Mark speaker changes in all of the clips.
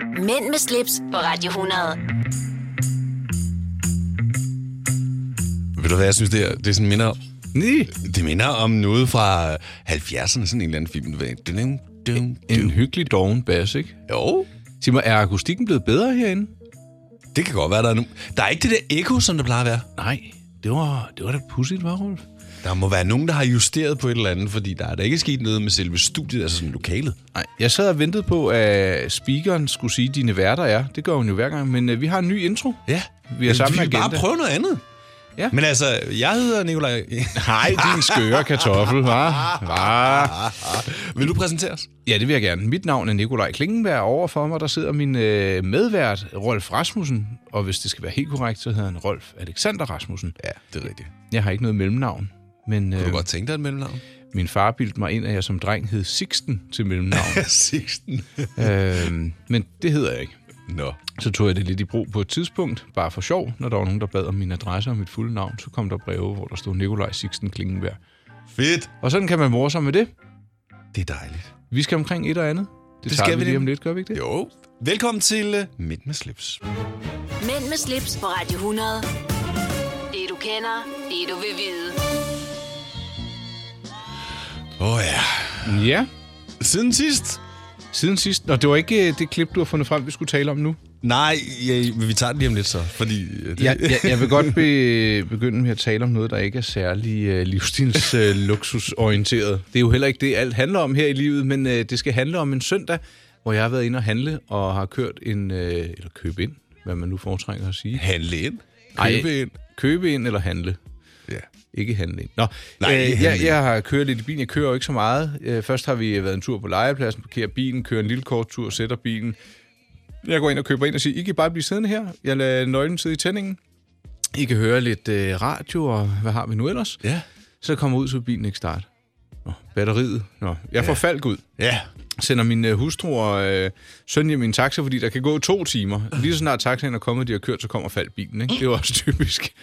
Speaker 1: Mænd med slips på Radio 100.
Speaker 2: Ved du hvad, jeg synes, det, er, det sådan minder,
Speaker 3: Nej.
Speaker 2: det minder om noget fra 70'erne, sådan en eller anden film. Du ved, dun, dun,
Speaker 3: En
Speaker 2: dun.
Speaker 3: hyggelig doven bas, ikke?
Speaker 2: Jo,
Speaker 3: Sig mig, er akustikken blevet bedre herinde?
Speaker 2: det kan godt være, der er nu. Der er ikke det der ekko, som der plejer at være.
Speaker 3: Nej, det var, det var da pudsigt, var Rolf?
Speaker 2: Der må være nogen, der har justeret på et eller andet, fordi der er da ikke sket noget med selve studiet, altså sådan lokalet.
Speaker 3: Nej, jeg sad og ventede på, at speakeren skulle sige, dine værter er. Det gør hun jo hver gang, men øh, vi har en ny intro.
Speaker 2: Ja,
Speaker 3: Vi har samme
Speaker 2: vi vil bare
Speaker 3: agenda.
Speaker 2: prøve noget andet.
Speaker 3: Ja.
Speaker 2: Men altså, jeg hedder Nikolaj.
Speaker 3: Nej, din skøre kartoffel, hva? hva?
Speaker 2: vil du præsentere os?
Speaker 3: Ja, det vil jeg gerne. Mit navn er Nikolaj Klingenberg. Over for mig, der sidder min øh, medvært, Rolf Rasmussen. Og hvis det skal være helt korrekt, så hedder han Rolf Alexander Rasmussen.
Speaker 2: Ja, det er rigtigt.
Speaker 3: Jeg har ikke noget mellemnavn, men
Speaker 2: Kunne
Speaker 3: øh,
Speaker 2: du godt tænke dig et mellemnavn?
Speaker 3: min far bildte mig ind, at jeg som dreng hed Sixten til mellemnavn.
Speaker 2: Sixten.
Speaker 3: øh, men det hedder jeg ikke.
Speaker 2: Nå.
Speaker 3: Så tog jeg det lidt i brug på et tidspunkt, bare for sjov. Når der var nogen, der bad om min adresse og mit fulde navn, så kom der breve, hvor der stod Nikolaj Sixten Klingenberg.
Speaker 2: Fedt.
Speaker 3: Og sådan kan man morse sig med det.
Speaker 2: Det er dejligt.
Speaker 3: Vi skal omkring et og andet. Det, det
Speaker 2: Det
Speaker 3: tager
Speaker 2: skal
Speaker 3: vi
Speaker 2: vi
Speaker 3: lige om
Speaker 2: nemlig.
Speaker 3: lidt, gør vi ikke det?
Speaker 2: Jo. Velkommen til uh, Midt med slips.
Speaker 1: Mænd med slips på Radio 100. Det du kender, det du vil vide.
Speaker 2: Åh oh, ja.
Speaker 3: Ja.
Speaker 2: Siden sidst?
Speaker 3: Siden sidst, og det var ikke øh, det klip, du har fundet frem, vi skulle tale om nu.
Speaker 2: Nej, ja, vi tager det lige om lidt så, fordi... øh, Det,
Speaker 3: Jeg, jeg, jeg vil godt be, begynde med at tale om noget, der ikke er særlig øh, livsstils øh, luksusorienteret. Det er jo heller ikke det, alt handler om her i livet, men øh, det skal handle om en søndag, hvor jeg har været inde og handle og har kørt en, øh, eller købe ind, hvad man nu foretrækker at sige.
Speaker 2: Handle ind.
Speaker 3: Ej,
Speaker 2: Købe ind.
Speaker 3: Købe ind eller handle.
Speaker 2: Ja.
Speaker 3: Ikke handle ind. Nå,
Speaker 2: Nej,
Speaker 3: Nej,
Speaker 2: ikke
Speaker 3: øh, jeg,
Speaker 2: handle ind.
Speaker 3: jeg har kørt lidt i bilen. Jeg kører jo ikke så meget. Øh, først har vi været en tur på legepladsen, parkerer bilen, kører en lille kort tur, sætter bilen. Jeg går ind og køber ind og siger, I kan bare blive siddende her. Jeg lader nøglen sidde i tændingen. I kan høre lidt øh, radio, og hvad har vi nu ellers?
Speaker 2: Ja.
Speaker 3: Så kommer jeg ud, så vil bilen ikke starte. Nå, batteriet. Nå, jeg får falk ud
Speaker 2: Ja.
Speaker 3: sender min øh, hustru og øh, søn hjem i en taxa, fordi der kan gå to timer. Lige så snart taxaen er kommet, de har kørt, så kommer faldt bilen. Ikke? Det er jo også typisk.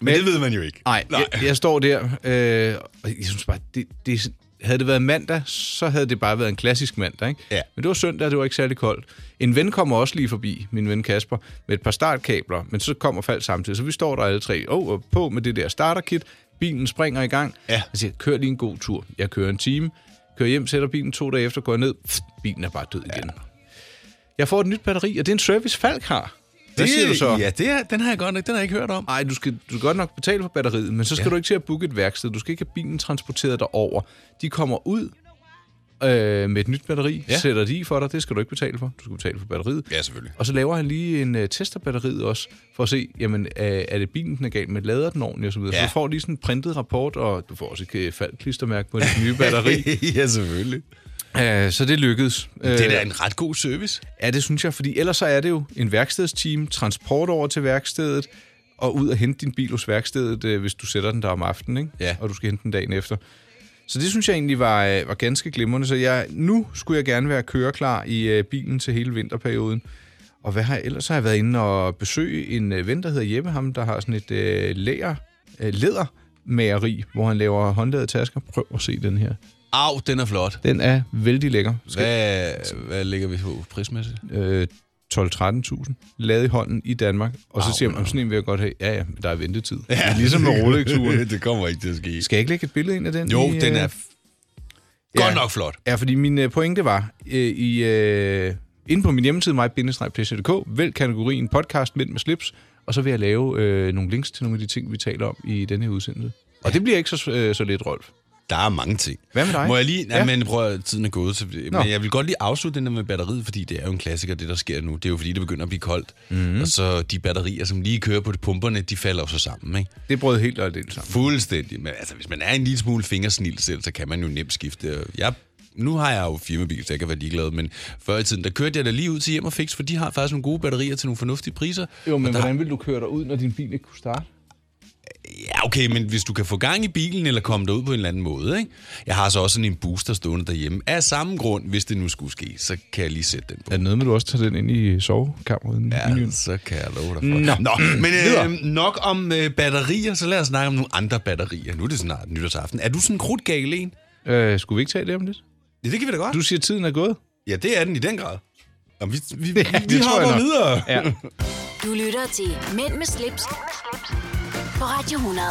Speaker 2: Men det ved man jo ikke.
Speaker 3: Nej, jeg, jeg står der, øh, og jeg synes bare, det, det, er sådan- havde det været mandag, så havde det bare været en klassisk mandag. Ikke?
Speaker 2: Ja.
Speaker 3: Men det var søndag, det var ikke særlig koldt. En ven kommer også lige forbi, min ven Kasper, med et par startkabler, men så kommer fald samtidig. Så vi står der alle tre, oh, og på med det der starterkit, bilen springer i gang.
Speaker 2: Ja.
Speaker 3: Jeg siger, kør lige en god tur. Jeg kører en time, kører hjem, sætter bilen to dage efter, går jeg ned, pft, bilen er bare død igen. Jeg får et nyt batteri, og det er en service, Falk har. Hvad
Speaker 2: det,
Speaker 3: siger du så?
Speaker 2: Ja, det er, den har jeg godt nok, den har jeg ikke hørt om.
Speaker 3: Ej, du skal, du skal godt nok betale for batteriet, men så skal ja. du ikke til at booke et værksted. Du skal ikke have bilen transporteret derover. De kommer ud øh, med et nyt batteri, ja.
Speaker 2: Ja.
Speaker 3: sætter de i for dig. Det skal du ikke betale for. Du skal betale for batteriet.
Speaker 2: Ja, selvfølgelig.
Speaker 3: Og så laver han lige en øh, test af batteriet også, for at se, jamen, er, er det bilen, den er galt med? Lader den ordentligt osv.? Ja. Så
Speaker 2: Ja.
Speaker 3: du får lige sådan en printet rapport, og du får også et øh, faldklistermærke på dit nye batteri.
Speaker 2: ja, selvfølgelig.
Speaker 3: Æh, så det lykkedes.
Speaker 2: Det er
Speaker 3: Øh,
Speaker 2: da en ret god service.
Speaker 3: Ja, det synes jeg, fordi ellers så er det jo en værkstedsteam, transport over til værkstedet, og ud og hente din bil hos værkstedet, øh, hvis du sætter den der om aftenen, ikke?
Speaker 2: Ja.
Speaker 3: og du skal hente den dagen efter. Så det synes jeg egentlig var, øh, var ganske glimrende, så jeg, nu skulle jeg gerne være køreklar i øh, bilen til hele vinterperioden. Og hvad har jeg ellers? Så har jeg været inde og besøge en øh, ven, der hedder Jeppe, ham, der har sådan et øh, læger, øh, lædermageri, hvor han laver håndlavede tasker. Prøv at se den her.
Speaker 2: Au, den er flot.
Speaker 3: Den er vældig lækker.
Speaker 2: Hvad, hvad ligger vi på prismæssigt?
Speaker 3: øh, 12-13.000 lavet i hånden i Danmark. Og så
Speaker 2: Au,
Speaker 3: siger man, om sådan en vil jeg godt have. Ja, ja, men der er ventetid. Ja. Ligesom med Rolex-uren.
Speaker 2: det kommer ikke til at ske.
Speaker 3: Skal jeg ikke lægge et billede ind af den?
Speaker 2: Jo,
Speaker 3: i,
Speaker 2: den
Speaker 3: øh,
Speaker 2: er f- godt nok flot.
Speaker 3: Ja, fordi min øh, pointe var, øh, i, øh, inde på min hjemmeside, mig-plæs.dk, vælg kategorien podcast Mænd med slips, og så vil jeg lave øh, nogle links til nogle af de ting, vi taler om i denne her udsendelse. Og det bliver ikke så, øh, så lidt, Rolf.
Speaker 2: Der er mange ting.
Speaker 3: Hvad med dig?
Speaker 2: Må jeg lige... Nej,
Speaker 3: Ja.
Speaker 2: ja. men prøv at tiden er gået. Så,
Speaker 3: Nå.
Speaker 2: men jeg vil godt lige afslutte den der med batteriet, fordi det er jo en klassiker, det der sker nu. Det er jo fordi, det begynder at blive koldt.
Speaker 3: Mhm.
Speaker 2: Mm-hmm. Og så de batterier, som lige kører på pumperne, de falder jo så sammen, ikke?
Speaker 3: Det brød helt og aldeles sammen.
Speaker 2: Fuldstændig. Men altså, hvis man er en lille smule fingersnil selv, så kan man jo nemt skifte. Jeg, nu har jeg jo firmabil, så jeg kan være ligeglad, men før i tiden, der kørte jeg da lige ud til hjem og fix, for de har faktisk nogle gode batterier til nogle fornuftige priser.
Speaker 3: Jo, men
Speaker 2: Og der,
Speaker 3: hvordan vil du køre dig ud, når din bil ikke kunne starte?
Speaker 2: Ja, okay, men hvis du kan få gang i bilen eller komme derud på en eller anden måde, ikke? Jeg har så også sådan en booster stående derhjemme. Af samme grund, hvis det nu skulle ske, så kan jeg lige sætte den på.
Speaker 3: Er det noget med, at du også tager den ind i sovekammeret?
Speaker 2: Ja, så kan jeg love dig for.
Speaker 3: Nå.
Speaker 2: Nå men
Speaker 3: Videre.
Speaker 2: øh, nok om øh, batterier, så lad os snakke om nogle andre batterier. Nu er det snart nytårsaften. Er du sådan en krudtgal en?
Speaker 3: Øh, skulle vi ikke tale det om lidt?
Speaker 2: Ja, det kan vi da godt.
Speaker 3: Du siger, at tiden er gået.
Speaker 2: Ja, det er den i den grad. Nå, vi, vi, vi,
Speaker 3: det
Speaker 2: vi
Speaker 3: tror jeg
Speaker 2: hopper
Speaker 3: nok.
Speaker 2: videre.
Speaker 3: Ja.
Speaker 1: Du lytter til Mænd med slips, på Radio 100.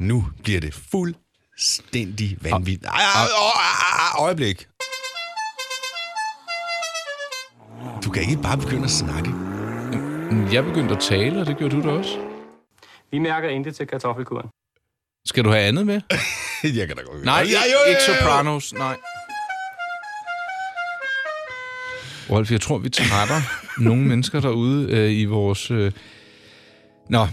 Speaker 2: Nu bliver det fuldstændig vanvittigt. Ej, ej, ej, ej, øjeblik. Du kan ikke bare begynde at snakke.
Speaker 3: Jeg begyndte at tale, og det gjorde du da også.
Speaker 4: Vi mærker intet til kartoffelkuren.
Speaker 3: Skal du have andet med?
Speaker 2: Jeg kan da godt høre.
Speaker 3: Nej,
Speaker 2: Ja, jo,
Speaker 3: ikke,
Speaker 2: jo, jo.
Speaker 3: ikke Sopranos, nej. Rolf, jeg tror, vi trætter nogle mennesker derude øh, i vores... Øh... Nå,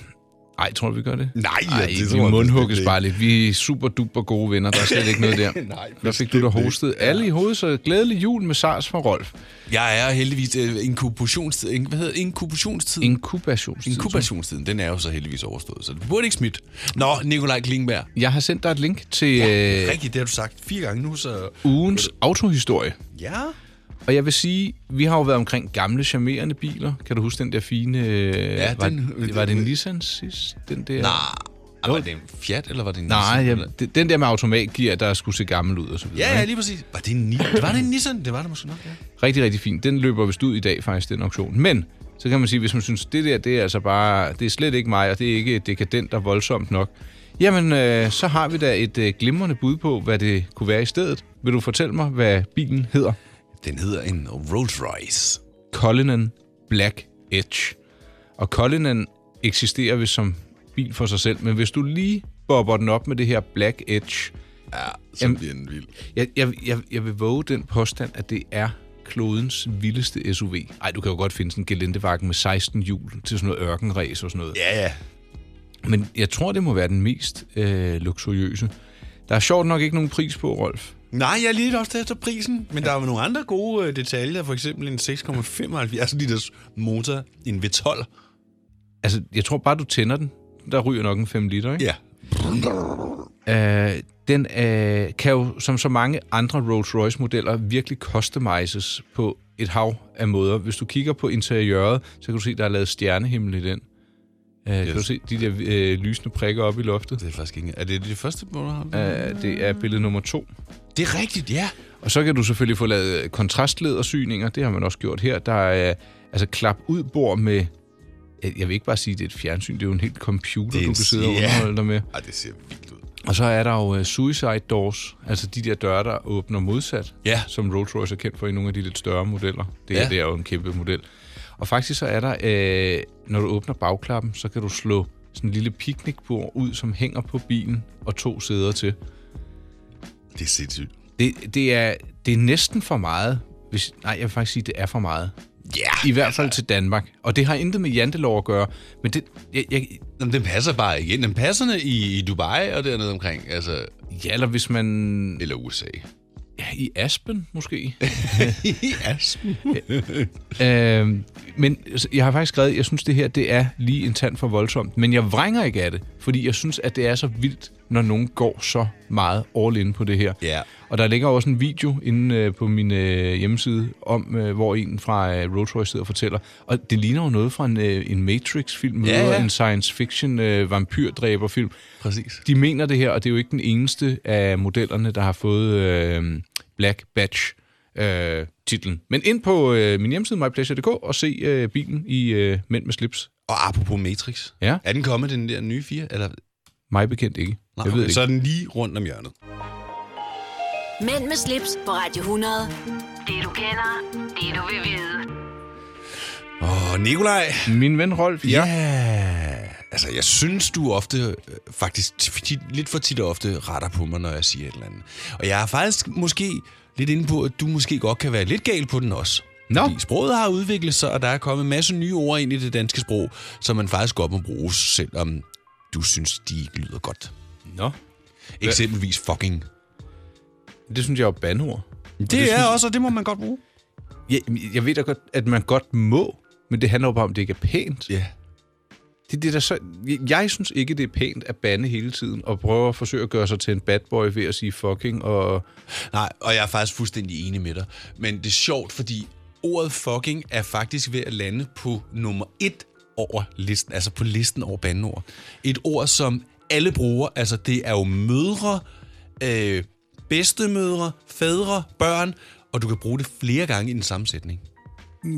Speaker 3: ej, tror du, vi gør det?
Speaker 2: Nej, ja,
Speaker 3: Ej,
Speaker 2: det
Speaker 3: det
Speaker 2: tror
Speaker 3: vi
Speaker 2: jeg
Speaker 3: mundhugges
Speaker 2: bestemt
Speaker 3: bare lidt. Vi er super duper gode venner, der er slet ikke noget der.
Speaker 2: Nej,
Speaker 3: Hvad fik du der
Speaker 2: bestemt
Speaker 3: hostet? Alle i hovedet, så glædelig jul med SARS for Rolf.
Speaker 2: Jeg er heldigvis øh, inkubationstid. In, hvad hedder det? inkubationstid?
Speaker 3: Inkubationstid.
Speaker 2: Inkubationstiden, den er jo så heldigvis overstået, så det burde ikke smidt. Nå, Nikolaj Klingberg.
Speaker 3: Jeg har sendt dig et link til øh,
Speaker 2: Rigtigt, det har du sagt fire gange nu, så...
Speaker 3: ugens autohistorie.
Speaker 2: Ja.
Speaker 3: Og jeg vil sige, vi har jo været omkring gamle, charmerende biler. Kan du huske den der fine... Ja, var,
Speaker 2: den-
Speaker 3: var det en Nissan sidst? Den der...
Speaker 2: Nej, var det en Fiat, eller var det en
Speaker 3: Nej,
Speaker 2: Nissan?
Speaker 3: jeg, den- den der med automatgear, der skulle se gammel ud og så videre.
Speaker 2: Ja, ja,
Speaker 3: ikke?
Speaker 2: lige præcis. Var det en, Ni- var det en Nissan? Det var det måske nok, ja.
Speaker 3: Rigtig, rigtig fint. Den løber vist ud i dag faktisk, den auktion. Men så kan man sige, hvis man synes, det der, det er altså bare, det er slet ikke mig, og det er ikke dekadent og voldsomt nok. Jamen, øh, så har vi da et øh, glimrende bud på, hvad det kunne være i stedet. Vil du fortælle mig, hvad bilen hedder?
Speaker 2: Den hedder en Rolls Royce.
Speaker 3: Cullinan Black Edge. Og Cullinan eksisterer vist som bil for sig selv, men hvis du lige bobber den op med det her Black Edge,
Speaker 2: Ja, så
Speaker 3: Jamen-
Speaker 2: bliver den vild.
Speaker 3: jeg, jeg, jeg, jeg vil våge den påstand, at det er klodens vildeste SUV. Ej, du kan jo godt finde sådan en gelentevagen med 16 hjul til sådan noget ørkenræs og sådan noget.
Speaker 2: Ja, ja.
Speaker 3: Men jeg tror, det må være den mest øh, luksuriøse. Der er sjovt nok ikke nogen pris på, Rolf.
Speaker 2: Nej, jeg er lidt også efter prisen, men der er jo nogle andre gode øh, detaljer, for eksempel en 6,75 liters altså motor, en V12.
Speaker 3: Altså, jeg tror bare, du tænder den. Der ryger nok en 5 liter, ikke?
Speaker 2: Ja.
Speaker 3: Øh, den øh, kan jo, som så mange andre Rolls-Royce-modeller, virkelig customizes på et hav af måder. Hvis du kigger på interiøret, så kan du se, der er lavet stjernehimmel i den. Øh, Kan
Speaker 2: Yes.
Speaker 3: du se de der øh, lysende prikker oppe i loftet?
Speaker 2: Det er faktisk ikke... Er det det første, du har?
Speaker 3: Øh, det er billede nummer to.
Speaker 2: Det er rigtigt, ja.
Speaker 3: Og så kan du selvfølgelig få lavet øh, kontrastledersyninger. Det har man også gjort her. Der er øh, altså klap ud bord med... øh, Jeg vil ikke bare sige, at det er et fjernsyn. Det er jo en helt computer,
Speaker 2: Det er
Speaker 3: du
Speaker 2: en-
Speaker 3: kan sidde og
Speaker 2: ja.
Speaker 3: underholde dig med.
Speaker 2: Ej, det ser vildt ud.
Speaker 3: Og så er der jo uh, suicide doors, altså de der døre, der åbner modsat,
Speaker 2: Ja.
Speaker 3: som Rolls Royce er kendt for i nogle af de lidt større modeller. Det, her,
Speaker 2: Ja.
Speaker 3: det er jo en kæmpe model. Og faktisk så er der, øh, når du åbner bagklappen, så kan du slå sådan en lille picnicbord ud, som hænger på bilen og to sæder til.
Speaker 2: Det er sindssygt.
Speaker 3: Det, det, er, det er næsten for meget. Hvis, nej, jeg vil faktisk sige, det er for meget.
Speaker 2: Ja.
Speaker 3: I hvert fald til Danmark. Og det har intet med jantelov at gøre, men det, jeg, jeg,
Speaker 2: Jamen, den passer bare ikke ind. Den passer i, i Dubai og dernede omkring, altså...
Speaker 3: ja, eller hvis man...
Speaker 2: Eller USA.
Speaker 3: Ja, I Aspen måske?
Speaker 2: yes.
Speaker 3: Øhm, men jeg har faktisk skrevet, jeg synes, det her det er lige en tand for voldsomt. Men jeg vrænger ikke af det, fordi jeg synes, at det er så vildt, når nogen går så meget all in på det her.
Speaker 2: Ja.
Speaker 3: Og der ligger også en video inde øh, på min øh, hjemmeside, om øh, hvor en fra øh, Rolls Royce sidder og fortæller. Og det ligner jo noget fra en, øh, en Matrix-film,
Speaker 2: Ja,
Speaker 3: ja, ja.
Speaker 2: ja.
Speaker 3: en science fiction øh, vampyrdræberfilm.
Speaker 2: Præcis.
Speaker 3: De mener det her, og det er jo ikke den eneste af modellerne, der har fået øh, Black Badge. Øh, titlen. Men ind på øh, min hjemmeside, mypleasure.dk, og se øh, bilen i øh, Mænd med slips.
Speaker 2: Og apropos Matrix.
Speaker 3: Ja.
Speaker 2: Er den kommet, den der nye fire? Eller, nej,
Speaker 3: Mig bekendt ikke. jeg ved det ikke.
Speaker 2: Så er den lige rundt om hjørnet.
Speaker 1: Mænd med slips på Radio 100. Det du kender, det du vil vide.
Speaker 2: Åh, Nikolaj.
Speaker 3: Min ven Rolf, ja.
Speaker 2: Ja. Altså, jeg synes, du ofte, øh, faktisk t- tit, lidt for tit og ofte, retter på mig, når jeg siger et eller andet. Og jeg er faktisk måske lidt inde på, at du måske godt kan være lidt gal på den også.
Speaker 3: Nå.
Speaker 2: Fordi sproget har udviklet sig, og der er kommet en masse nye ord ind i det danske sprog, som man faktisk godt må bruge, selvom du synes, de ikke lyder godt.
Speaker 3: Nå.
Speaker 2: Eksempelvis fucking.
Speaker 3: Det synes jeg er bandord.
Speaker 2: Det,
Speaker 3: er
Speaker 2: er også, og det må man godt bruge.
Speaker 3: Jeg, jeg ved da godt, at man godt må, men det handler jo bare om, at det ikke er pænt.
Speaker 2: Ja.
Speaker 3: Det, er det der så, jeg, jeg synes ikke, det er pænt at bande hele tiden, og prøve at forsøge at gøre sig til en bad boy ved at sige fucking, og
Speaker 2: Nej, og jeg er faktisk fuldstændig enig med dig. Men det er sjovt, fordi ordet fucking er faktisk ved at lande på nummer et over listen, altså på listen over bandeord. Et ord, som alle bruger, altså det er jo mødre, øh, bedstemødre, fædre, børn, og du kan bruge det flere gange i den samme sætning.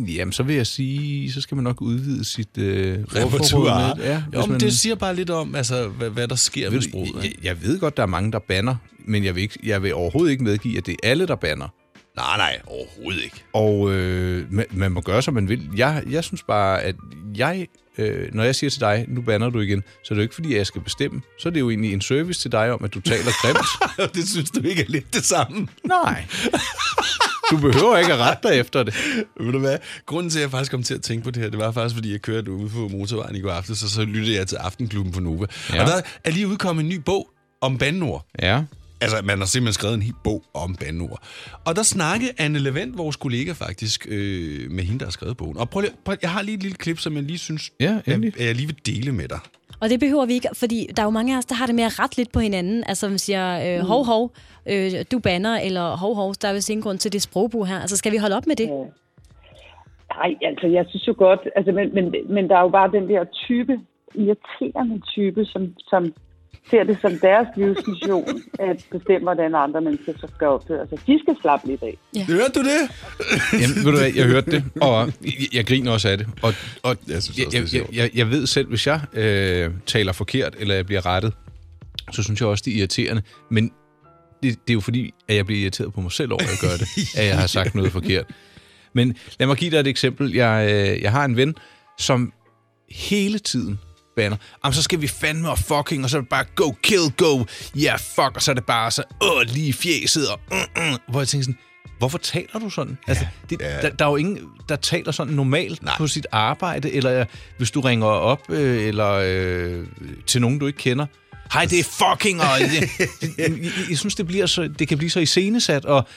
Speaker 3: Jamen, så vil jeg sige, så skal man nok udvide sit øh, ordforråd
Speaker 2: Repertoire.
Speaker 3: lidt. Ja,
Speaker 2: jo,
Speaker 3: hvis
Speaker 2: men
Speaker 3: man,
Speaker 2: det siger bare lidt om, altså, hvad, hvad der sker ved
Speaker 3: ved,
Speaker 2: sproget.
Speaker 3: jeg,
Speaker 2: ikke?
Speaker 3: jeg ved godt, der er mange, der banner, men jeg vil, ikke, jeg vil overhovedet ikke medgive, at det er alle, der banner.
Speaker 2: Nej, nej, overhovedet ikke.
Speaker 3: Og øh, man, man må gøre, som man vil. Jeg, jeg synes bare, at jeg, øh, når jeg siger til dig, nu banner du igen, så er det jo ikke, fordi jeg skal bestemme. Så er det jo egentlig en service til dig om, at du taler grimt.
Speaker 2: det synes du ikke er lidt det samme.
Speaker 3: Nej. Du behøver ikke at rette dig efter det.
Speaker 2: Ved du hvad? Grunden til, at jeg faktisk kom til at tænke på det her, det var faktisk, fordi jeg kørte ude på motorvejen i går aftes, og så lyttede jeg til Aftenklubben på Nova. Ja.
Speaker 3: Ja.
Speaker 2: Og der er lige udkommet en ny bog om bandord.
Speaker 3: Ja.
Speaker 2: Altså, man har simpelthen skrevet en hel bog om bandord. Og der snakkede Anne Levent, vores kollega faktisk, øh, med hende, der har skrevet bogen. Og prøv lige, prøv, jeg har lige et lille klip, som jeg lige synes,
Speaker 3: Ja, endelig.
Speaker 2: jeg, jeg lige vil dele med dig.
Speaker 5: Og det behøver vi ikke, fordi der er jo mange af os, der har det med at rette lidt på hinanden. Altså, man siger, øh, hov, hov, øh, du banner, eller hov, hov, der er vist ingen grund til det sprogbrug her. Altså, skal vi holde op med det?
Speaker 6: Nej, altså jeg synes jo godt, altså, men, men, men der er jo bare den der type, irriterende type, som, som ser det som deres livsmission, at bestemme, hvordan andre mennesker så skal opføre sig. De skal slappe lidt af.
Speaker 2: Hørte du det?
Speaker 3: Jamen, ved du hvad, jeg hørte det, og jeg, jeg griner også af det. Og, og
Speaker 2: Jeg synes også, det er
Speaker 3: jeg, jeg,
Speaker 2: sjovt.
Speaker 3: jeg, jeg ved selv, hvis jeg øh, taler forkert, eller jeg bliver rettet, så synes jeg også, det er irriterende. Men det, det er jo fordi, at jeg bliver irriteret på mig selv over, at jeg gør det, at jeg har sagt noget forkert. Men lad mig give dig et eksempel. Jeg, øh, jeg har en ven, som hele tiden banner. Jamen, så skal vi fandme og fucking, og så er det bare go, kill, go, yeah, fuck, og så er det bare så, åh, lige i fjeset, og mm, mm, hvor jeg tænker sådan, hvorfor taler du sådan? Altså, det,
Speaker 2: ja.
Speaker 3: Der, der er jo ingen, der taler sådan normalt
Speaker 2: Nej.
Speaker 3: Nej. på sit arbejde, eller hvis du ringer op, øh, eller øh, til nogen, du ikke kender. Hej, det er fucking, og jeg, jeg, jeg, jeg synes, det, bliver så, det kan blive så iscenesat, og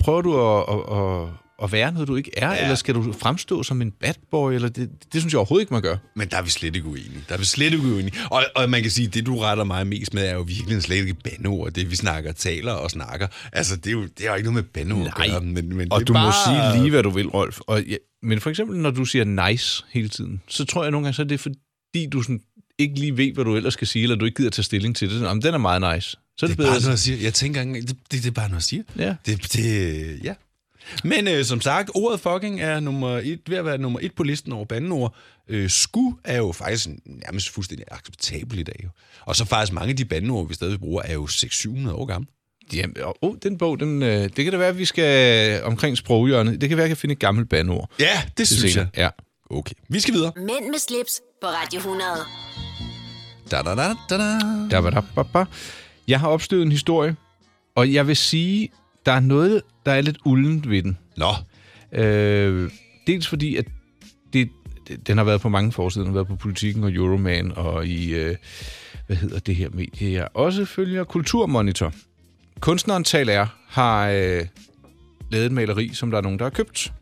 Speaker 3: prøver du at, at, at, at være noget, du ikke er, ja. eller skal du fremstå som en bad boy, eller det, det synes jeg overhovedet ikke, man gør.
Speaker 2: Men der er vi slet ikke uenige. Der er vi slet ikke uenige. Og, og man kan sige, at det, du retter mig mest med, er jo virkelig slet ikke bandeord. Det, vi snakker, taler og snakker. Altså, det er jo, det er jo ikke noget med bandeord at
Speaker 3: Nej.
Speaker 2: gøre. Men, men
Speaker 3: Og
Speaker 2: det er
Speaker 3: du bare... må
Speaker 2: bare-
Speaker 3: sige lige, hvad du vil, Rolf. Og ja, men for eksempel, når du siger nice hele tiden, så tror jeg nogle gange, så er det fordi, du sådan ikke lige ved, hvad du ellers skal sige, eller du ikke gider tage stilling til det. Sådan, Jamen, den er meget nice. Så er
Speaker 2: Det
Speaker 3: det,
Speaker 2: er bare
Speaker 3: bedre.
Speaker 2: noget, jeg siger. Jeg tænker ikke engang- det, det, det er bare noget, jeg siger.
Speaker 3: Ja.
Speaker 2: Det, det, ja. Men øh, som sagt, ordet fucking er nummer et, ved at være nummer et på listen over bandeord. Øh, sku er jo faktisk nærmest fuldstændig acceptabel i dag. Jo. Og så faktisk mange af de bandeord, vi stadig bruger, er jo 600-700 år gamle.
Speaker 3: Jamen, og, oh, den bog, den, øh, det kan da være, at vi skal omkring sproghjørnet. Det kan være, at jeg kan finde et gammelt bandord.
Speaker 2: Ja, det, det
Speaker 3: til
Speaker 2: synes jeg.
Speaker 3: senere. Ja.
Speaker 2: Okay, vi skal videre.
Speaker 1: Mænd med slips på Radio 100.
Speaker 2: Da, da, da, da, da.
Speaker 3: Da, ba, da, ba, ba. Jeg har opstøvet en historie, og jeg vil sige, der er noget, der er lidt uldent ved den.
Speaker 2: Nå,
Speaker 3: Øh, dels fordi, at det, det- den har været på mange forsider. Den har været på Politiken og Euroman og i, øh, hvad hedder det her medie, jeg også følger, Kulturmonitor. Kunstneren Tal R har øh, lavet et maleri, som der er nogen, der har købt.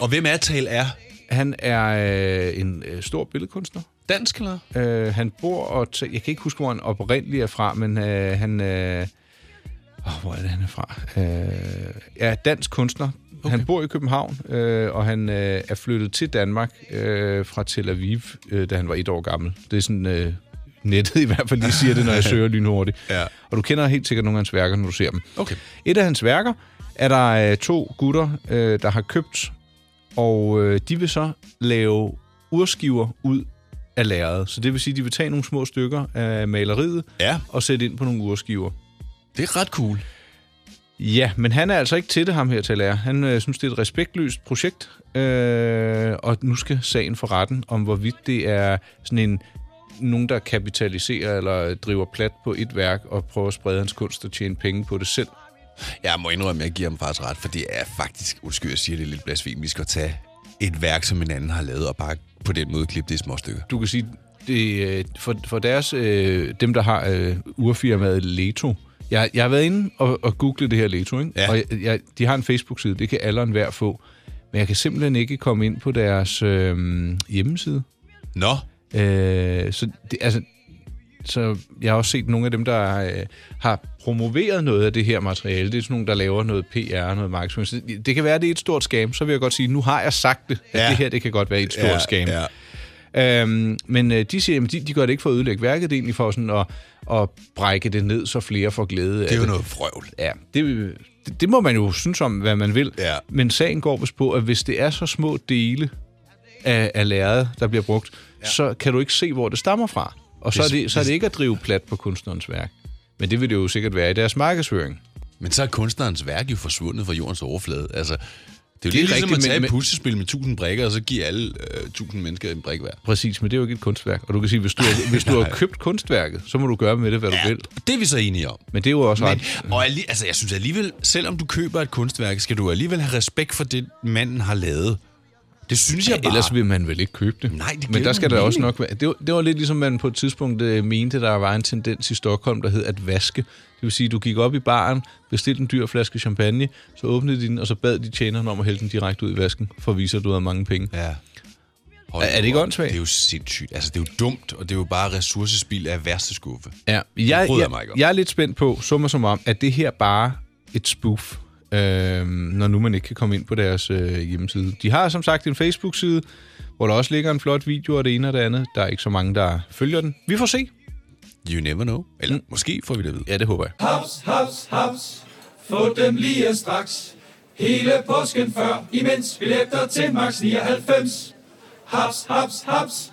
Speaker 2: og hvem er tal er?
Speaker 3: Han er øh, en øh, stor billedkunstner.
Speaker 2: Dansk eller?
Speaker 3: Øh, han bor og tæ- jeg kan ikke huske, hvor han oprindeligt er fra, men øh, han... Øh, oh, hvor er det, han er fra? Øh, er dansk kunstner. Okay. Han bor i København, øh, og han øh, er flyttet til Danmark øh, fra Tel Aviv, øh, da han var et år gammel. Det er sådan... Øh, nettet i hvert fald lige siger det, når jeg søger lynhurtigt.
Speaker 2: Ja.
Speaker 3: Og du kender helt sikkert nogle af hans værker, når du ser dem.
Speaker 2: Okay.
Speaker 3: Et af hans værker er der øh, to gutter, øh, der har købt, og øh, de vil så lave urskiver ud af lærredet. Så det vil sige, at de vil tage nogle små stykker af maleriet
Speaker 2: Ja,
Speaker 3: og sætte ind på nogle urskiver.
Speaker 2: det er ret cool.
Speaker 3: Ja, men han er altså ikke til det, ham her til lærer. Han øh, synes, det er et respektløst projekt, øh, og nu skal sagen for retten om, hvorvidt det er sådan en nogen, der kapitaliserer eller driver plat på et værk og prøver at sprede hans kunst og tjene penge på det selv.
Speaker 2: Jeg må indrømme, at jeg giver ham faktisk ret, for det er faktisk, undskyld, jeg siger det er lidt blasfemisk at tage et værk, som en anden har lavet, og bare på den måde klippe det i små stykker.
Speaker 3: du kan sige, det, øh, for, for deres, øh, dem der har øh, urfirmaet Leto, jeg, jeg har været inde og, og google det her Leto, ikke?
Speaker 2: Ja.
Speaker 3: og jeg, jeg, de har en Facebook-side, det kan alle og enhver få, men jeg kan simpelthen ikke komme ind på deres øh, hjemmeside.
Speaker 2: Nå,
Speaker 3: Øh, så, det, altså, så jeg har også set nogle af dem, der øh, har promoveret noget af det her materiale. Det er sådan nogle, der laver noget PR, noget marketing. Så det, det kan være, det er et stort scam, så vil jeg godt sige, nu har jeg sagt det, at
Speaker 2: Ja.
Speaker 3: ja. det her det kan godt være et stort
Speaker 2: Ja,
Speaker 3: scam.
Speaker 2: ja.
Speaker 3: Øhm, men øh, de siger, at de, de gør det ikke for at ødelægge værket, det er egentlig for sådan at, at brække det ned, så flere får glæde af
Speaker 2: det er jo
Speaker 3: det.
Speaker 2: noget frøvl.
Speaker 3: Ja, det, det, det må man jo synes om, hvad man vil.
Speaker 2: Ja.
Speaker 3: Men sagen går vist på, at hvis det er så små dele af, af lærredet, der bliver brugt, ja. så kan du ikke se, hvor det stammer fra. Og så er,
Speaker 2: Hvis-
Speaker 3: det, så er det ikke at drive plat på kunstnerens værk. Men det vil det jo sikkert være i deres markedsføring.
Speaker 2: Men så er kunstnerens værk jo forsvundet fra jordens overflade. Altså, det er jo
Speaker 3: Det er
Speaker 2: lidt ligesom
Speaker 3: rigtigt,
Speaker 2: at tage
Speaker 3: men-
Speaker 2: et puslespil med 1000 brikker, og så give alle øh, 1000 mennesker en brik hver.
Speaker 3: Præcis, men det er jo ikke et kunstværk. Og du kan sige, hvis du, har- hvis du har købt kunstværket, så må du gøre med det, hvad du vil.
Speaker 2: Det er vi så enige om.
Speaker 3: Men det er jo også
Speaker 2: Men,
Speaker 3: ret...
Speaker 2: og alli- altså, jeg synes alligevel, selvom du køber et kunstværk, skal du alligevel have respekt for det, manden har lavet. Det synes jeg bare.
Speaker 3: Ellers vil man vel ikke købe det.
Speaker 2: Nej, det giver
Speaker 3: Men der
Speaker 2: ingen
Speaker 3: skal der også
Speaker 2: mening.
Speaker 3: nok være... Det var, det var lidt ligesom, man på et tidspunkt øh, mente, der var en tendens i Stockholm, der hed at vaske. Det vil sige, du gik op i baren, bestilte en dyr flaske champagne, så åbnede de den, og så bad de tjeneren om at hælde den direkte ud i vasken, for at vise, at du havde mange penge.
Speaker 2: Ja. Hold
Speaker 3: Er- er det
Speaker 2: nu
Speaker 3: ikke
Speaker 2: op.
Speaker 3: åndssvagt?
Speaker 2: Det er jo sindssygt. Altså, det er jo dumt, og det er jo bare ressourcespil af værste skuffe.
Speaker 3: Ja, jeg,
Speaker 2: bryder
Speaker 3: jeg,
Speaker 2: jeg mig ikke om.
Speaker 3: jeg er lidt spændt på, summa som om, at det her bare et spoof, øh, når nu man ikke kan komme ind på deres øh, hjemmeside. De har som sagt en Facebook-side, hvor der også ligger en flot video og det ene og det andet. Der er ikke så mange, der følger den. Vi får se.
Speaker 2: You never know. Eller mm. måske får vi det at vide.
Speaker 3: Ja, det håber jeg.
Speaker 7: Haps, haps, haps. Få dem lige straks. Hele påsken før, imens billetter til max 99. Haps, haps, haps.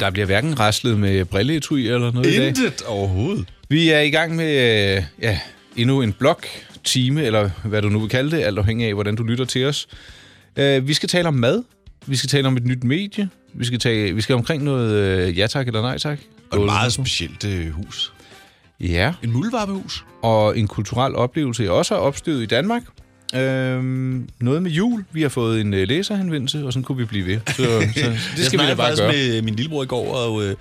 Speaker 3: Der bliver hverken raslet med brilleetui eller noget i dag.
Speaker 2: Intet overhovedet.
Speaker 3: Vi er i gang med øh, ja, endnu en blog, time, eller hvad du nu vil kalde det, alt afhængig af, hvordan du lytter til os. Øh, vi skal tale om mad. Vi skal tale om et nyt medie. Vi skal, tale, vi skal omkring noget øh, ja tak eller nej tak.
Speaker 2: Og et
Speaker 3: Noget-
Speaker 2: meget specielt øh, hus.
Speaker 3: Ja,
Speaker 2: En muldvarpehus.
Speaker 3: og en kulturel oplevelse, jeg også har opstøvet i Danmark. Øhm, noget med jul. Vi har fået en øh, læserhenvendelse, og sådan kunne vi blive ved. Så, så det skal vi da bare gøre.
Speaker 2: med min lillebror i går, og øh,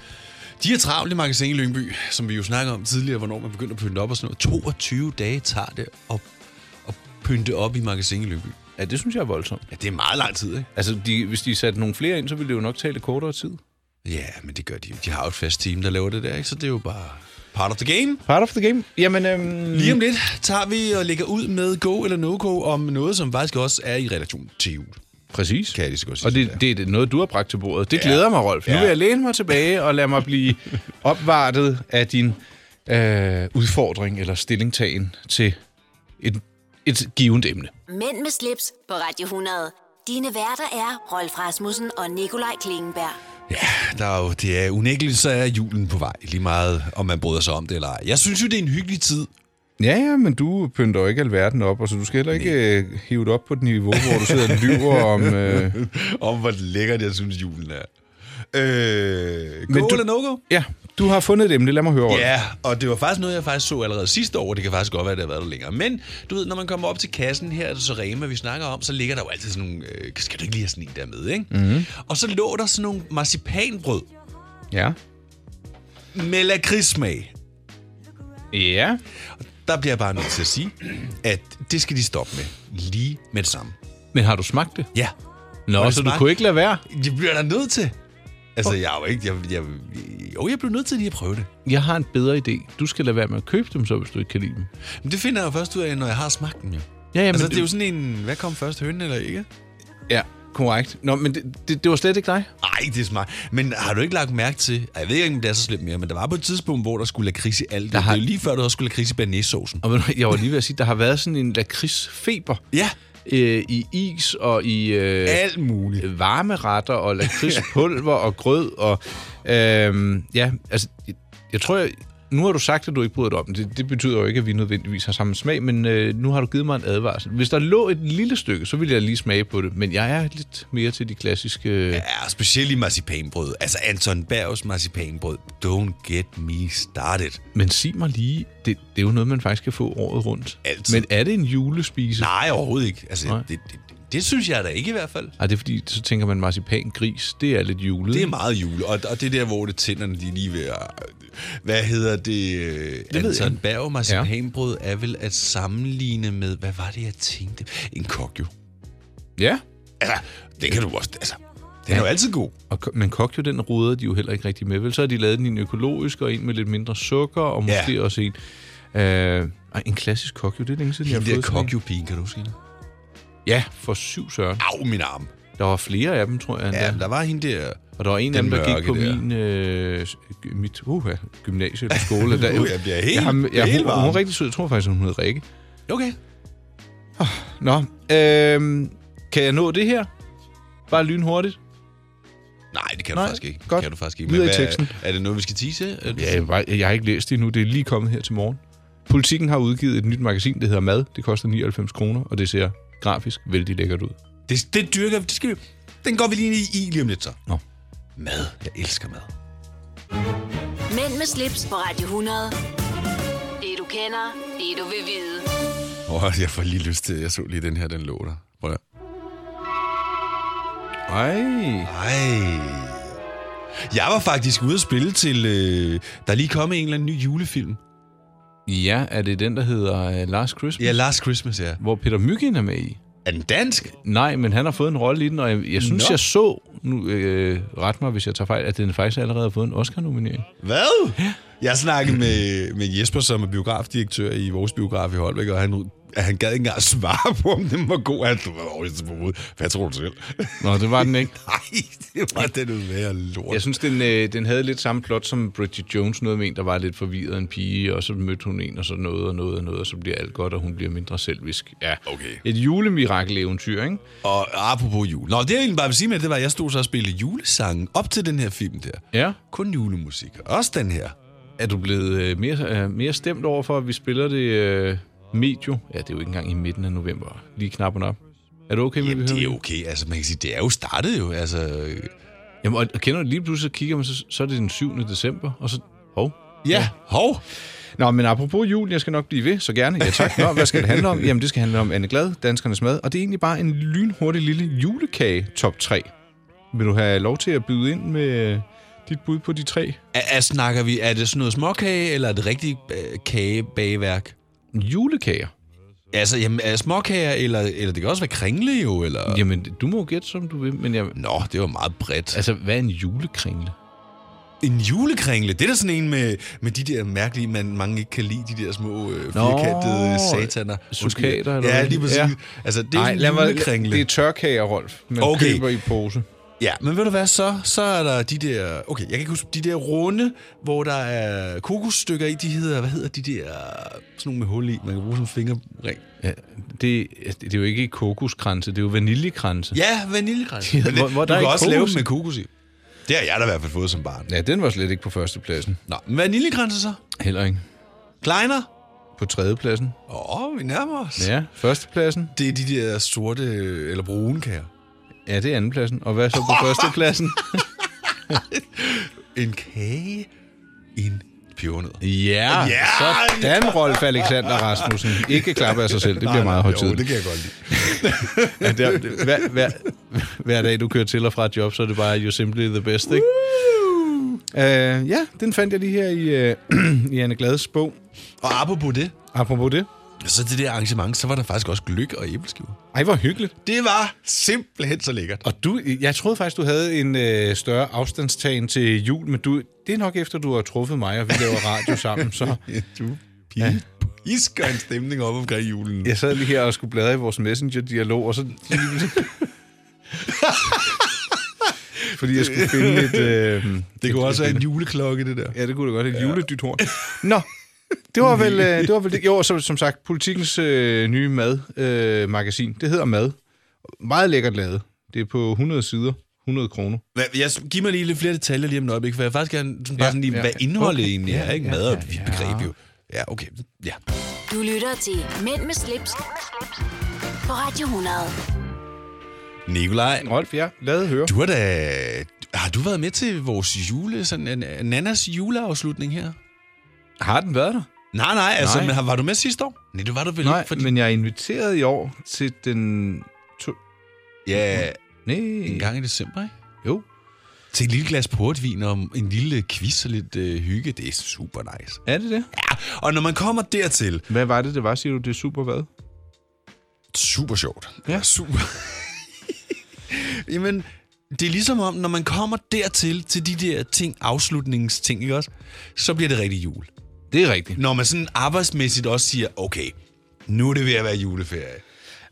Speaker 2: de er travlt i magasin i Lyngby, som vi jo snakkede om tidligere, hvornår man begynder at pynte op og sådan noget. 22 dage tager det at, at pynte op i magasin i Lyngby.
Speaker 3: Ja, det synes jeg er voldsomt.
Speaker 2: Ja, det er meget lang tid, ikke?
Speaker 3: Altså, de, hvis de satte nogle flere ind, så ville det jo nok tage lidt kortere tid.
Speaker 2: Ja, men det gør de jo. De har jo et fast team, der laver det der, ikke? Så det er jo bare part of the game.
Speaker 3: Part of the game. Jamen, øhm,
Speaker 2: Lige om lidt tager vi og lægger ud med go eller no-go om noget, som faktisk også er i relation til jul.
Speaker 3: Præcis.
Speaker 2: Kan jeg lige så godt sige.
Speaker 3: Og
Speaker 2: som
Speaker 3: det, det er noget, du har bragt til bordet. Det ja. glæder mig, Rolf. Ja. Nu vil jeg læne mig tilbage og lade mig blive opvartet af din øh, udfordring eller stillingtagen til et, et givet emne.
Speaker 1: Mænd med slips på Radio 100. Dine værter er Rolf Rasmussen og Nikolaj Klingenberg.
Speaker 2: Ja, der er jo, det er unægteligt, så er julen på vej. Lige meget, om man bryder sig om det eller ej. Jeg synes jo, det er en hyggelig tid.
Speaker 3: Ja, ja, men du pynter jo ikke alverden op, og så du skal heller ikke øh, hive det op på et niveau, hvor du sidder og lyver om... Øh,
Speaker 2: om, hvor lækkert jeg synes, julen er. Øh, go
Speaker 3: Men
Speaker 2: Men
Speaker 3: du-
Speaker 2: du... eller no-go?
Speaker 3: ja, du har fundet et emne. Lad mig høre, Rolf.
Speaker 2: Ja, og det var faktisk noget, jeg faktisk så allerede sidste år. Det kan faktisk godt være, at det har været der længere. Men du ved, når man kommer op til kassen her, er det så Rema, vi snakker om, så ligger der jo altid sådan nogle... Øh, skal du ikke lige have sådan en der med, ikke? Mm-hmm. Og så lå der sådan nogle marcipanbrød
Speaker 3: Ja.
Speaker 2: med lakridssmag.
Speaker 3: Ja.
Speaker 2: Der bliver jeg bare nødt til at sige, at det skal de stoppe med lige med det samme.
Speaker 3: Men har du smagt det?
Speaker 2: Ja,
Speaker 3: Nå,
Speaker 2: Har
Speaker 3: så
Speaker 2: jeg
Speaker 3: du
Speaker 2: smagt-
Speaker 3: kunne ikke lade være?
Speaker 2: det bliver jeg da nødt til. Altså, jeg er jo ikke... Jeg, jeg, jo, jeg blev nødt til lige at prøve det.
Speaker 3: Jeg har en bedre idé. Du skal lade være med at købe dem, så hvis du ikke kan lide dem.
Speaker 2: Men det finder jeg jo først ud af, når jeg har smagt den, jo.
Speaker 3: Ja, ja,
Speaker 2: Jamen, altså,
Speaker 3: men
Speaker 2: det er jo sådan en, hvad kom først, hønen eller ikke?
Speaker 3: Ja, korrekt. Nå, men det, det, det var slet ikke dig.
Speaker 2: Nej, det er smart. Men har du ikke lagt mærke til, Ej, jeg ved ikke, om det er så slemt mere, men der var på et tidspunkt, hvor der skulle lakrids i alt.
Speaker 3: Der
Speaker 2: Der
Speaker 3: har-
Speaker 2: har... Det er jo lige før, der også skulle lakrids i banæssaucen.
Speaker 3: Og ved du hvad, jeg var lige ved at sige, der har været sådan en lakridsfeber
Speaker 2: Ja,
Speaker 3: øh, i is og i øh,
Speaker 2: alt muligt.
Speaker 3: varmeretter og lakridspulver og grød. Og, øh, ja, altså, jeg, jeg tror, jeg, nu har du sagt, at du ikke bryder dig om det. det. Det betyder jo ikke, at vi nødvendigvis har samme smag, men øh, nu har du givet mig en advarsel. Hvis der lå et lille stykke, så ville jeg lige smage på det, men jeg er lidt mere til de klassiske... øh, Ja.
Speaker 2: Ja, specielt i marcipanbrød. Altså Anton Bergs marcipanbrød. Don't get me started.
Speaker 3: Men sig mig lige, det, det er jo noget, man faktisk kan få året rundt.
Speaker 2: Altid.
Speaker 3: Men er det en julespise?
Speaker 2: Nej, overhovedet ikke. Altså,
Speaker 3: Nej.
Speaker 2: det, det, det, Det synes jeg da ikke i hvert fald.
Speaker 3: Ej, det er fordi, så tænker man marcipan gris. Det er lidt julet.
Speaker 2: Det er
Speaker 3: ikke?
Speaker 2: meget jule, og, og det er der, hvor det tænderne de er lige ved at... Hvad hedder det? øh,
Speaker 3: ved
Speaker 2: Anton
Speaker 3: jeg.
Speaker 2: Berg marcipanbrød er vel at sammenligne med... Hvad var det, jeg tænkte? En kok jo.
Speaker 3: Ja.
Speaker 2: Altså, det kan du også... Altså, den er jo altid god.
Speaker 3: Og, ko- men kokjo, den ruder de jo heller ikke rigtig med. Vel, så har de lavet den i en økologisk, og en med lidt mindre sukker, og
Speaker 2: Ja.
Speaker 3: måske også en... Øh, ej, en klassisk kokjo, det er længe siden, jeg
Speaker 2: Den der
Speaker 3: har fået sådan en.
Speaker 2: kokjupigen, kan du huske hende?
Speaker 3: Ja, for syv søren.
Speaker 2: Au, min arm.
Speaker 3: Der var flere af dem, tror jeg.
Speaker 2: Ja,
Speaker 3: endda.
Speaker 2: men der var hende der...
Speaker 3: Og der var en af
Speaker 2: Den
Speaker 3: dem, der gik
Speaker 2: mørke
Speaker 3: på
Speaker 2: der.
Speaker 3: der. min øh, gy- mit, uh, gymnasie eller skole. Der,
Speaker 2: Uh, jeg bliver helt-
Speaker 3: har- jeg,
Speaker 2: helt
Speaker 3: hun, hun
Speaker 2: varm.
Speaker 3: er rigtig sød. Jeg tror faktisk, hun hedder Rikke. Ah,
Speaker 2: Okay.
Speaker 3: Nå, øhm, kan jeg nå det her? Bare lynhurtigt?
Speaker 2: Nej, det kan du
Speaker 3: Nej,
Speaker 2: faktisk ikke.
Speaker 3: godt.
Speaker 2: Det kan du faktisk ikke.
Speaker 3: Videre i
Speaker 2: hvad-
Speaker 3: teksten.
Speaker 2: Er det noget, vi skal tise? Er det-
Speaker 3: Ja, jeg, var- jeg har ikke læst det endnu. Det er lige kommet her til morgen. Politikken har udgivet et nyt magasin, det hedder Mad. Det koster 99 kroner, og det ser grafisk vældig lækkert ud.
Speaker 2: Det, det dyrker vi. Det skal vi. Den går vi lige ind i, i lige om lidt så.
Speaker 3: Nå.
Speaker 2: Mad. Jeg elsker mad.
Speaker 1: Mænd med slips på Radio 100. Det du kender, det du vil vide.
Speaker 2: Åh, oh, jeg får lige lyst til... Jeg så lige den her, den lå der. Prøv at
Speaker 3: Ej.
Speaker 2: Ej. Jeg var faktisk ude at spille til... Øh, der er lige kommet en eller anden ny julefilm.
Speaker 3: Ja, er det den, der hedder øh, Last Christmas?
Speaker 2: Ja, Last Christmas, ja.
Speaker 3: Hvor Peter Myggen er med i?
Speaker 2: Er den dansk?
Speaker 3: Nej, men han har fået en rolle i den, og jeg, jeg synes,
Speaker 2: Nå.
Speaker 3: Nå. jeg så, nu øh, ret mig, hvis jeg tager fejl, at den faktisk allerede har fået en Oscar-nominering.
Speaker 2: Hvad? Jeg snakkede med, med Jesper, som er biografdirektør i vores biograf i Holbæk, og han, han gad ikke engang svare på, om den var god. Han var over på hovedet. Hvad tror du selv?
Speaker 3: Nå, det var den ikke.
Speaker 2: Nej, det var den udvære lort.
Speaker 3: Jeg synes, den, øh, den havde lidt samme plot som Bridget Jones, noget med en, der var lidt forvirret en pige, og så mødte hun en, og så noget og noget og noget, og så bliver alt godt, og hun bliver mindre selvisk. Ja,
Speaker 2: Okay.
Speaker 3: Et julemirakel-eventyr, ikke?
Speaker 2: Og apropos jul. Nå, det jeg egentlig bare vil sige med, det var, at jeg stod så og spillede julesangen op til den her film der.
Speaker 3: Ja.
Speaker 2: Kun julemusik. Også den her.
Speaker 3: Er du blevet øh, mere, øh, mere stemt over for, at vi spiller det øh, medio? Ja, det er jo ikke engang i midten af november. Lige knappen op. Er du okay med, at vi
Speaker 2: Jamen,
Speaker 3: hører
Speaker 2: det er okay. Altså, man kan sige, det er jo startet jo. Altså, øh,
Speaker 3: Jamen, og, og kender du lige pludselig, så kigger man, så, så er det den 7. december, og så... Hov.
Speaker 2: ja, hov.
Speaker 3: Nå, men apropos jul, jeg skal nok blive ved, så gerne. Ja tak. Nå, hvad skal det handle om? Jamen, det skal handle om Anne Glad, Danskernes Mad, og det er egentlig bare en lynhurtig lille julekage top 3. Vil du have lov til at byde ind med øh, dit bud på de tre?
Speaker 2: Er, er, snakker vi, er det sådan noget småkage, eller er det rigtig øh, kagebageværk?
Speaker 3: Julekager?
Speaker 2: Altså, jamen, er det småkager, eller, eller det kan også være kringle jo, eller... Jamen.
Speaker 3: Jamen, du må jo gætte, som du vil, men jeg...
Speaker 2: Nå, det var meget bredt.
Speaker 3: Altså, hvad er en julekringle?
Speaker 2: En julekringle, det er da sådan en med, med de der mærkelige, man mange ikke kan lide, de der små øh, firkantede
Speaker 3: Nå,
Speaker 2: sataner. Undskyld.
Speaker 3: sukkater, eller
Speaker 2: Ja,
Speaker 3: hvad?
Speaker 2: lige præcis. Ja.
Speaker 3: Ja.
Speaker 2: Altså, det er Ej, en julekringle.
Speaker 3: Det er tørkager, Rolf. Man
Speaker 2: Okay.
Speaker 3: okay. køber i pose.
Speaker 2: Ja, men ved du hvad så? Så er der de der... Okay, jeg kan ikke huske... De der runde, hvor der er kokosstykker i, de hedder... Hvad hedder de der... Sådan nogle med hul i, man kan bruge som fingerring.
Speaker 3: Ja, det, det er jo ikke kokoskranse, det er jo vaniljekranse.
Speaker 2: Ja, vaniljekrans.
Speaker 3: Ja,
Speaker 2: Men det-
Speaker 3: hvor- hvor
Speaker 2: du
Speaker 3: der
Speaker 2: kan
Speaker 3: er ikke
Speaker 2: også
Speaker 3: kokos
Speaker 2: lave dem
Speaker 3: i.
Speaker 2: med kokos i. Det har jeg da i hvert fald fået som barn.
Speaker 3: Ja, den var slet ikke på førstepladsen.
Speaker 2: Nå, men vaniljekranser så?
Speaker 3: Heller ikke.
Speaker 2: Kleiner?
Speaker 3: På tredjepladsen.
Speaker 2: Åh, oh, vi nærmer os.
Speaker 3: Ja, førstepladsen.
Speaker 2: Det er de der sorte øh, eller brune kager.
Speaker 3: Ja, det er andenpladsen. Og hvad så på førstepladsen?
Speaker 2: En kage. En pebernød.
Speaker 3: Ja,
Speaker 2: Ja!
Speaker 3: sådan Rolf Alexander Rasmussen. Ikke klappe af sig selv, det bliver meget
Speaker 2: Jo,
Speaker 3: højtidligt.
Speaker 2: det kan jeg godt lide.
Speaker 3: Ja, det er- det- hver, hver, hver dag, du kører til og fra et job, så er det bare, you're simply the best, ikke? Uh, ja, den fandt jeg lige her i, uh, i Anne Glades bog.
Speaker 2: Og apropos det,
Speaker 3: Apropos det.
Speaker 2: så til det arrangement, så var der faktisk også gløk og æbleskiver.
Speaker 3: Ej, hvor hyggeligt.
Speaker 2: Det var simpelthen så lækkert.
Speaker 3: Og du, jeg troede faktisk, du havde en øh, større afstandstagen til jul, men du, det er nok efter, du har truffet mig, og vi laver radio sammen, så...
Speaker 2: Du pige. Isker en stemning op omkring julen.
Speaker 3: Jeg sad lige her og skulle bladre i vores messenger-dialog, og så... Fordi jeg skulle finde et... Øh,
Speaker 2: Det kunne også være en juleklokke, det der.
Speaker 3: ja, det kunne det godt. Et ja. juledythorn. Nå, det var vel øh, det. Var vel det. Jo, og så, som sagt, politikens øh, nye madmagasin. Øh, magasin. det hedder Mad. Meget lækkert lavet. Det er på 100 sider. 100 kroner.
Speaker 2: Hvad- Jeg, giv mig lige lidt flere detaljer lige om et øjeblik, for jeg vil faktisk gerne sådan, bare
Speaker 3: Ja,
Speaker 2: sådan lige,
Speaker 3: ja.
Speaker 2: hvad indholdet
Speaker 3: Okay.
Speaker 2: egentlig er,
Speaker 3: Ja,
Speaker 2: ikke?
Speaker 3: ja,
Speaker 2: Mad er
Speaker 3: ja,
Speaker 2: et vidt
Speaker 3: ja.
Speaker 2: begreb jo. Ja, okay. Ja.
Speaker 1: Du lytter til Mænd med slips, på Radio 100.
Speaker 2: Nikolaj,
Speaker 3: Rolf, ja, lad høre.
Speaker 2: du har da... Har du været med til vores jule, sådan en, en Nannas juleafslutning her?
Speaker 3: Har den været der?
Speaker 2: Nej, nej, altså,
Speaker 3: Nej.
Speaker 2: men har- var du med sidste år? Nej, det var du vel
Speaker 3: Nej,
Speaker 2: ikke, fordi...
Speaker 3: men jeg er inviteret i år til den to,
Speaker 2: Ja, en
Speaker 3: Nej.
Speaker 2: gang i december, ikke?
Speaker 3: Jo.
Speaker 2: Til et lille glas portvin og en lille quiz og lidt øh, hygge. Det er super nice.
Speaker 3: Er det det?
Speaker 2: Ja, og når man kommer dertil,
Speaker 3: Hvad var det, det var, siger du? Det er super hvad?
Speaker 2: super sjovt.
Speaker 3: Ja.
Speaker 2: super. Jamen, det er ligesom om, når man kommer dertil, til de der ting, afslutningsting, ikke også? Så bliver det rigtig jul.
Speaker 3: Det er rigtigt.
Speaker 2: Når man sådan arbejdsmæssigt også siger, okay, nu er det ved at være juleferie.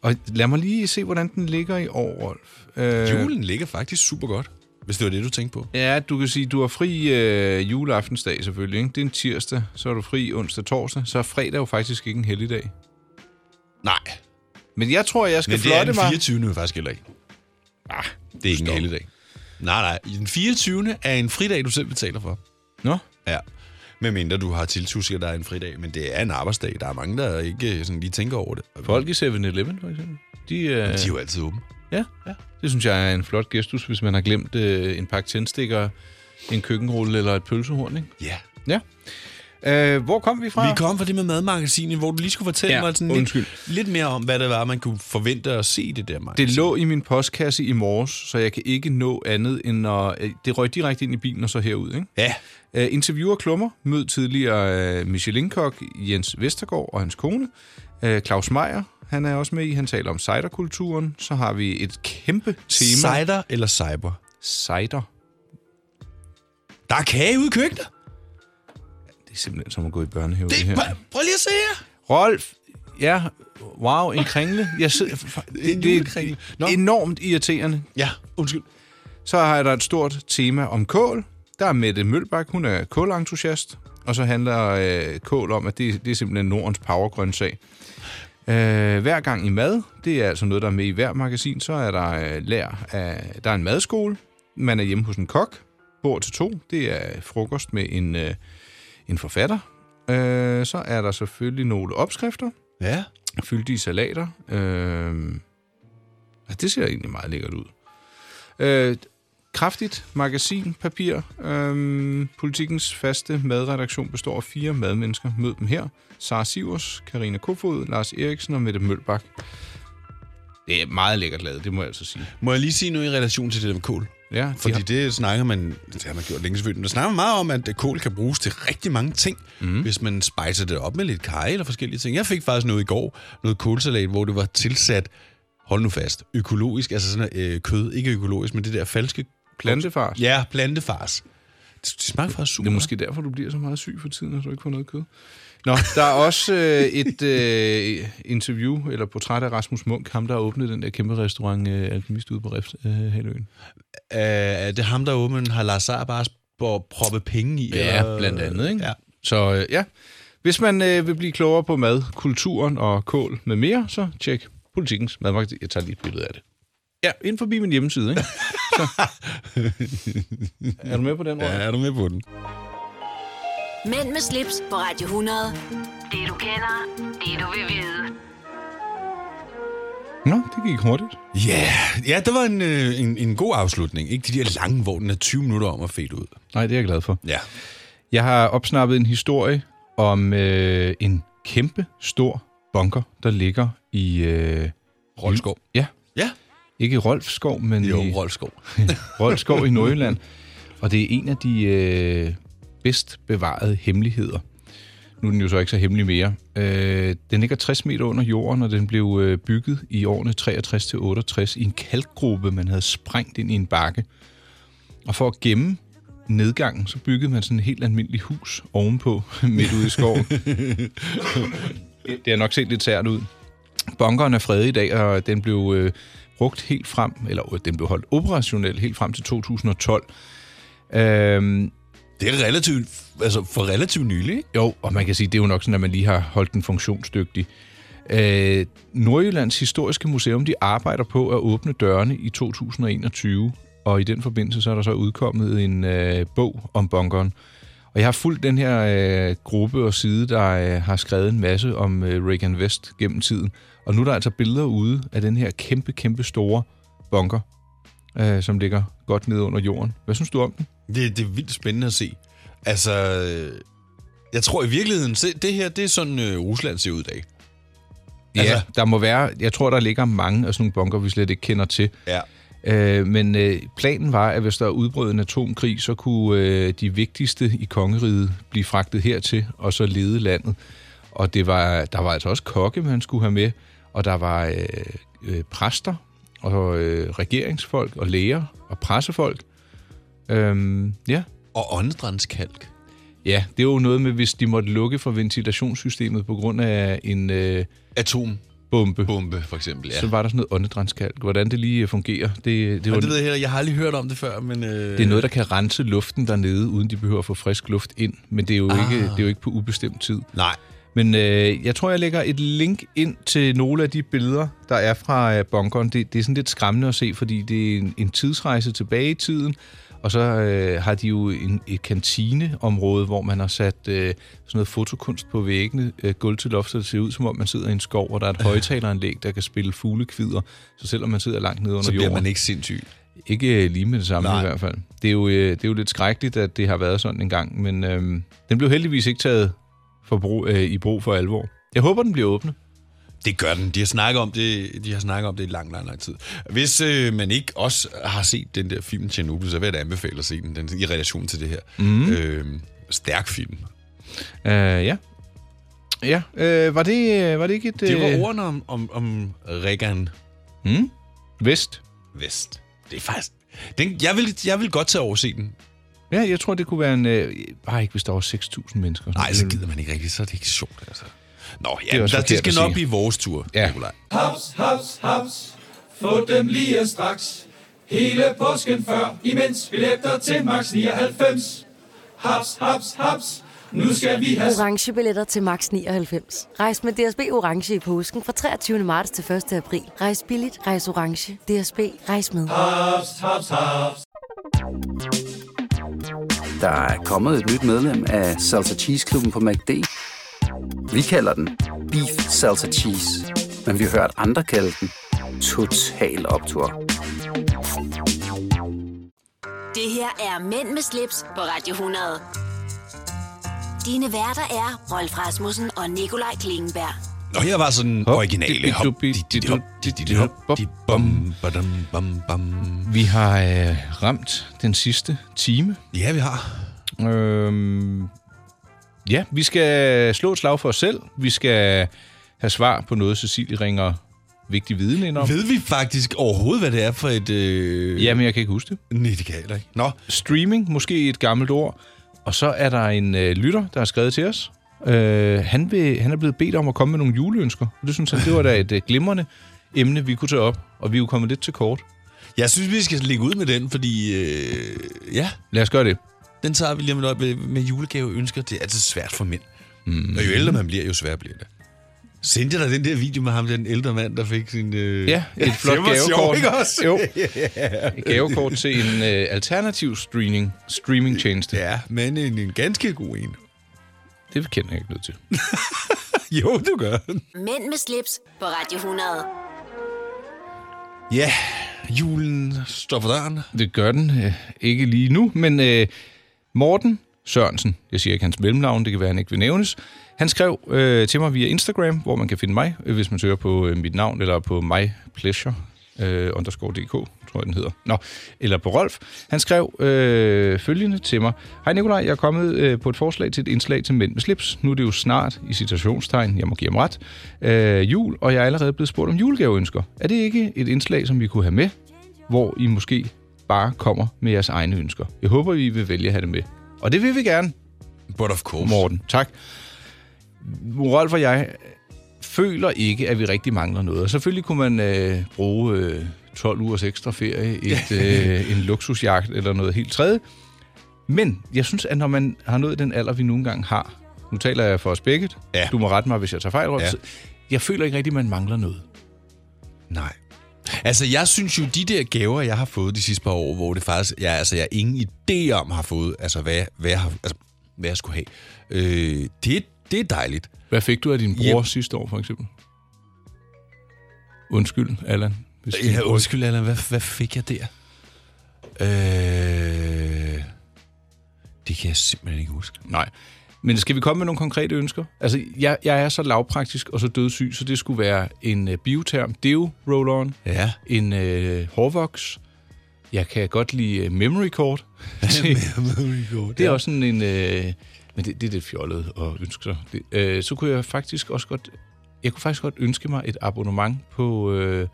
Speaker 3: Og lad mig lige se, hvordan den ligger i år, Rolf. Øh,
Speaker 2: Julen ligger faktisk super godt, hvis det var det, du tænkte på.
Speaker 3: Ja, du kan sige, du har fri øh, juleaftensdag selvfølgelig. Ikke? Det er en tirsdag, så er du fri onsdag torsdag. Så er fredag jo faktisk ikke en helligdag.
Speaker 2: Nej,
Speaker 3: Men jeg tror, jeg skal
Speaker 2: men det er
Speaker 3: flotte
Speaker 2: den
Speaker 3: mig.
Speaker 2: 24. jo faktisk heller ikke.
Speaker 3: Ah,
Speaker 2: Det er ikke en
Speaker 3: stop.
Speaker 2: helligdag. Nej, nej. Den 24. er en fridag, du selv betaler for.
Speaker 3: Nå,
Speaker 2: Ja. Medmindre du har tiltusket dig en fridag, men det er en arbejdsdag. Der er mange, der ikke øh, sådan lige tænker over det.
Speaker 3: folk i 7-Eleven for eksempel. De, øh,
Speaker 2: De er jo altid åbne.
Speaker 3: ja, ja, det synes jeg er en flot gestus, hvis man har glemt øh, en pakke tændstikker, en køkkenrulle eller et pølsehorn. Ikke?
Speaker 2: Ja.
Speaker 3: Ja. Øh, hvor kom vi fra?
Speaker 2: Vi kom fra det med madmagasinet, hvor du lige skulle fortælle
Speaker 3: Ja,
Speaker 2: ja, mig sådan lidt,
Speaker 3: undskyld.
Speaker 2: lidt mere om, hvad det var, man kunne forvente at se i det der magasin.
Speaker 3: Det lå i min postkasse i morges, så jeg kan ikke nå andet end at... øh, Det røg direkte ind i bilen og så herud, ikke?
Speaker 2: Ja,
Speaker 3: Uh, interviewer Klummer, mød tidligere uh, Michelin-kok Jens Vestergaard og hans kone. Uh, Claus Meier, han er også med i. Han taler om ciderkulturen. Så har vi et kæmpe tema.
Speaker 2: cider eller cyber.
Speaker 3: cider.
Speaker 2: Der er kage ude i køkkenet.
Speaker 3: Det er simpelthen som at gå i børnehave, det,
Speaker 2: Det,
Speaker 3: det her.
Speaker 2: prøv, prøv lige at se her.
Speaker 3: Rolf, ja, wow, en kringle. Jeg sidder, det,
Speaker 2: julekringle.
Speaker 3: det
Speaker 2: Nå.
Speaker 3: er enormt irriterende.
Speaker 2: Ja, undskyld.
Speaker 3: Så har jeg der et stort tema om kål. Der er Mette Mølbak, hun er kålentusiast. Og så handler øh, kål om, at det, det er simpelthen Nordens powergrøntsag. Øh, hver gang i mad, det er altså noget, der er med i hver magasin, så er der, øh, lær af, der er en madskole. Man er hjemme hos en kok. Bord til to, det er frokost med en, øh, en forfatter. Øh, så er der selvfølgelig nogle opskrifter,
Speaker 2: Ja.
Speaker 3: fyldige salater. Øh, altså, det ser egentlig meget lækkert ud. Øh, kraftigt magasinpapir. Øh, politikens faste madredaktion består af fire madmennesker. Mød dem her. Sara Sivers, Karina Kofod, Lars Eriksen og Mette Mølbak. Det er meget lækkert lavet, det må jeg altså sige.
Speaker 2: Må jeg lige sige noget i relation til det der med kål?
Speaker 3: Ja, de
Speaker 2: Fordi
Speaker 3: har-
Speaker 2: det snakker man, det har man gjort længe selvfølgelig, men der snakker man meget om, at kål kan bruges til rigtig mange ting, mm. hvis man spicer det op med lidt kaj eller forskellige ting. Jeg fik faktisk noget i går, noget kålsalat, hvor det var tilsat, hold nu fast, økologisk, altså sådan øh, kød, ikke økologisk, men det der falske...
Speaker 3: plantefars.
Speaker 2: Ja, plantefars. Det, det smager faktisk super.
Speaker 3: Det er måske derfor, du bliver så meget syg for tiden, at du ikke får noget kød. Nå, der er også øh, et øh, interview, eller portræt af Rasmus Munk, ham der har åbnet den der kæmpe restaurant øh, Alkemist ude på Rift, øh, halvøen.
Speaker 2: Øh, er det ham, der åbner, har Lars Saar bare sp- proppet penge i. eller-
Speaker 3: øh, Ja.
Speaker 2: Ja.
Speaker 3: Så øh, ja, hvis man øh, vil blive klogere på mad, kulturen og kål med mere, så tjek politikens madmagasin. Jeg tager lige et billede af det. Ja, ind forbi min hjemmeside, ikke? Så. er du med på den, Røg?
Speaker 2: ja, er du med på den?
Speaker 1: Mænd med slips på Radio 100. Det du kender, det du vil vide.
Speaker 3: Nå, det gik hurtigt.
Speaker 2: Ja, yeah. ja, det var en, øh, en, en god afslutning. Ikke de der lange, hvor den er 20 minutter om at fede ud.
Speaker 3: Nej, det er jeg glad for.
Speaker 2: Ja.
Speaker 3: Jeg har opsnappet en historie om øh, en kæmpe stor bunker, der ligger i... Øh,
Speaker 2: Rolskov.
Speaker 3: Ja,
Speaker 2: Ja.
Speaker 3: ikke i Rolfskov, men
Speaker 2: Jo,
Speaker 3: i
Speaker 2: Rolskov.
Speaker 3: Rolfskov i Nordjylland. Og det er en af de øh, bedst bevarede hemmeligheder. Nu er den jo så ikke så hemmelig mere. Øh, den ligger 60 meter under jorden, og den blev øh, bygget i årene 63-68 i en kalkgruppe, man havde sprængt ind i en bakke. Og for at gemme nedgangen, så byggede man sådan et helt almindeligt hus ovenpå, midt ude i skoven. det har nok set lidt sært ud. Bunkeren er fredet i dag, og den blev øh, brugt helt frem, eller øh, den blev holdt operationel helt frem til 2012. Øhm,
Speaker 2: Det er relativt, altså for relativt nylig, ikke?
Speaker 3: jo, og man kan sige, det er jo nok sådan, at man lige har holdt den funktionsdygtig. Øh, Nordjyllands Historiske Museum, de arbejder på at åbne dørene i 2021, og i den forbindelse så er der så udkommet en øh, bog om bunkeren. Og jeg har fulgt den her øh, gruppe og side, der øh, har skrevet en masse om øh, Reagan West gennem tiden. Og nu er der altså billeder ude af den her kæmpe, kæmpe store bunker, øh, som ligger godt nede under jorden. Hvad synes du om den?
Speaker 2: Det, det er vildt spændende at se. Altså, øh, jeg tror i virkeligheden, se, det her, det er sådan, øh, Rusland ser ud i dag.
Speaker 3: Ja,
Speaker 2: Altså-
Speaker 3: altså. der må være, jeg tror, der ligger mange af sådan nogle bunker, vi slet ikke kender til.
Speaker 2: Ja.
Speaker 3: Øh, men øh, planen var, at hvis der udbrød en atomkrig, så kunne øh, de vigtigste i kongeriget blive fragtet hertil, og så lede landet. Og det var, der var altså også kokke, man skulle have med, og der var øh, øh, præster, og øh, regeringsfolk, og læger, og pressefolk. Øhm, ja.
Speaker 2: Og åndedrænskalk.
Speaker 3: ja, det er jo noget med, hvis de måtte lukke for ventilationssystemet på grund af en øh,
Speaker 2: Atombombe,
Speaker 3: bombe,
Speaker 2: for eksempel, ja.
Speaker 3: så var der sådan noget åndedrænskalk. Hvordan det lige øh, fungerer, det, det, var,
Speaker 2: Og det ved jeg heller, jeg har aldrig hørt om det før, men... Øh...
Speaker 3: det er noget, der kan rense luften dernede, uden de behøver at få frisk luft ind. Men det er jo, ah. ikke, det er jo ikke på ubestemt tid.
Speaker 2: Nej.
Speaker 3: Men øh, jeg tror, jeg lægger et link ind til nogle af de billeder, der er fra øh, bunkeren. Det, det er sådan lidt skræmmende at se, fordi det er en, en tidsrejse tilbage i tiden. Og så øh, har de jo en, et kantineområde, hvor man har sat øh, sådan noget fotokunst på væggene, øh, gulv til loft, så det ser ud, som om man sidder i en skov, og der er et højtaleranlæg, der kan spille fuglekvider. Så selvom man sidder langt nede under
Speaker 2: Så bliver
Speaker 3: jorden,
Speaker 2: man ikke sindssyg.
Speaker 3: ikke øh, lige med det samme
Speaker 2: Nej.
Speaker 3: Nej. i hvert fald. Det er, jo, øh, det er jo lidt skrækkeligt, at det har været sådan en gang, men øhm, den blev heldigvis ikke taget for brug, øh, i brug for alvor. Jeg håber, den bliver åbnet.
Speaker 2: Det gør den. De har snakket om det, de har snakket om det i lang, lang, lang tid. Hvis øh, man ikke også har set den der film Tjernobyl, så vil jeg da anbefale at se den, den i relation til det her. Mm.
Speaker 3: Mhm.
Speaker 2: Øh, stærk film.
Speaker 3: Øh, ja. Ja, øh, var, det, øh, var det ikke et...
Speaker 2: Det
Speaker 3: øh,
Speaker 2: var ordene om, om, om Regan
Speaker 3: Mm? Vest.
Speaker 2: Vest. Det er faktisk... Den, jeg, vil, jeg vil godt tage overse den.
Speaker 3: Ja, jeg tror, det kunne være en... Øh, bare ikke, hvis der var 6.000 mennesker.
Speaker 2: Nej, så gider man ikke rigtigt, så er det ikke sjovt, altså. Nå, ja,
Speaker 3: Mm. er
Speaker 2: det,
Speaker 3: også
Speaker 2: der, det
Speaker 3: forkert
Speaker 2: skal
Speaker 3: at
Speaker 2: nok
Speaker 3: sige.
Speaker 2: blive vores tur,
Speaker 3: Ja.
Speaker 2: Nikolaj.
Speaker 7: Haps, haps, haps. Få dem lige straks. Hele påsken før, imens billetter til max 99. Haps, haps, haps. Nu skal vi have
Speaker 8: Orange billetter til max 99. Rejs med DSB Orange i påsken fra 23. marts til 1. april. Rejs billigt, rejs orange. DSB, rejs med.
Speaker 7: haps, haps, haps.
Speaker 9: Der er kommet et nyt medlem af Salsa Cheese Klubben på MACD. Vi kalder den Beef Salsa Cheese, men vi har hørt andre kalde den Total Optor.
Speaker 1: Det her er Mænd med slips på Radio 100. Dine værter er Rolf Rasmussen og Nikolaj Klingenberg.
Speaker 2: Og her var sådan en
Speaker 3: Hop,
Speaker 2: originale
Speaker 3: dit,
Speaker 2: hop.
Speaker 3: dup, dit,
Speaker 2: dit, dit,
Speaker 3: dup,
Speaker 2: hop, dit, dit,
Speaker 3: hop,
Speaker 2: hop, dit, bum, badum, bum, bum.
Speaker 3: Vi har øh, ramt den sidste time.
Speaker 2: Ja, vi har.
Speaker 3: Øhm, ja, vi skal slå et slag for os selv. Vi skal have svar på noget, Cecilie ringer vigtig viden ind om.
Speaker 2: Ved vi faktisk overhovedet, hvad det er for et... Øh...
Speaker 3: Jamen, jeg kan ikke huske det.
Speaker 2: Nej, det kan jeg heller ikke. Nå,
Speaker 3: Streaming, måske et gammelt ord. Og så er der en øh, lytter, der har skrevet til os. Øh, han, vil, han er blevet bedt om at komme med nogle juleønsker. Og det synes han, det var da et øh, glimrende emne, vi kunne tage op. Og vi er jo kommet lidt til kort.
Speaker 2: jeg synes, vi skal ligge ud med den, fordi... Øh... Ja,
Speaker 3: Lad os gøre det.
Speaker 2: den tager vi lige om et øjeblik med julegaveønsker. Det er altid svært for mænd. Mm. Og jo ældre man bliver, jo sværere bliver det. Sendte jeg dig den der video med ham, den ældre mand, der fik sin... Øh...
Speaker 3: Ja, et flot
Speaker 2: det var sjovt,
Speaker 3: gavekort.
Speaker 2: ikke også?
Speaker 3: Jo, et gavekort til en øh, alternativ streaming, streamingtjeneste.
Speaker 2: Ja, men en, en ganske god en.
Speaker 3: Det kender jeg ikke noget til.
Speaker 2: Jo, du gør.
Speaker 1: Mænd med slips på Radio 100.
Speaker 2: Ja, julen står for døren.
Speaker 3: Det gør den øh, ikke lige nu, men øh, Morten Sørensen, jeg siger ikke hans mellemnavn, det kan være, han ikke vil nævnes, han skrev øh, til mig via Instagram, hvor man kan finde mig, øh, hvis man søger på øh, mit navn, eller på mypleasure, øh, underscore dk, tror jeg den hedder, Nå, eller på Rolf. Han skrev øh, følgende til mig. Hej Nikolaj, jeg er kommet øh, på et forslag til et indslag til Mænd med slips. Nu er det jo snart, i citationstegn, jeg må give ham ret, øh, jul, og jeg er allerede blevet spurgt om julegaveønsker. Er det ikke et indslag, som vi kunne have med? hvor I måske bare kommer med jeres egne ønsker. Jeg håber, I vil vælge at have det med. Og det vil vi gerne,
Speaker 2: But of course.
Speaker 3: Morten. Tak. Rolf og jeg føler ikke, at vi rigtig mangler noget. Og selvfølgelig kunne man øh, bruge øh, 12 ugers ekstra ferie, et, øh, en luksusjagt eller noget helt tredje. Men jeg synes, at når man har nået den alder, vi nu engang har, nu taler jeg for os begge,
Speaker 2: Ja.
Speaker 3: du må rette mig, hvis jeg tager fejl, Rolf,
Speaker 2: Ja.
Speaker 3: ja. jeg føler ikke rigtig, at man mangler noget.
Speaker 2: Nej. Altså, jeg synes jo, de der gaver, jeg har fået de sidste par år, hvor det faktisk, jeg, altså, jeg ingen idé om har fået, altså, hvad, hvad, jeg, har, altså, hvad jeg skulle have. Øh, det, det er dejligt.
Speaker 3: Hvad fik du af din bror
Speaker 2: Yep.
Speaker 3: yep. sidste år, for eksempel? Undskyld, Allan. Hvis din
Speaker 2: Ja,
Speaker 3: bror-
Speaker 2: undskyld, Allan, hvad, hvad fik jeg der? Øh, det kan jeg simpelthen ikke huske.
Speaker 3: Nej. Men skal vi komme med nogle konkrete ønsker? Altså, jeg, jeg er så lavpraktisk og så dødssyg, så det skulle være en øh, bioterm deo roll-on,
Speaker 2: Ja.
Speaker 3: en øh, hårvoks, jeg kan godt lide øh, memory cord. det, det er også sådan en... Øh, men det, det er lidt fjollet at ønske sig. Det, øh, så kunne jeg faktisk også godt... Jeg kunne faktisk godt ønske mig et abonnement på øh,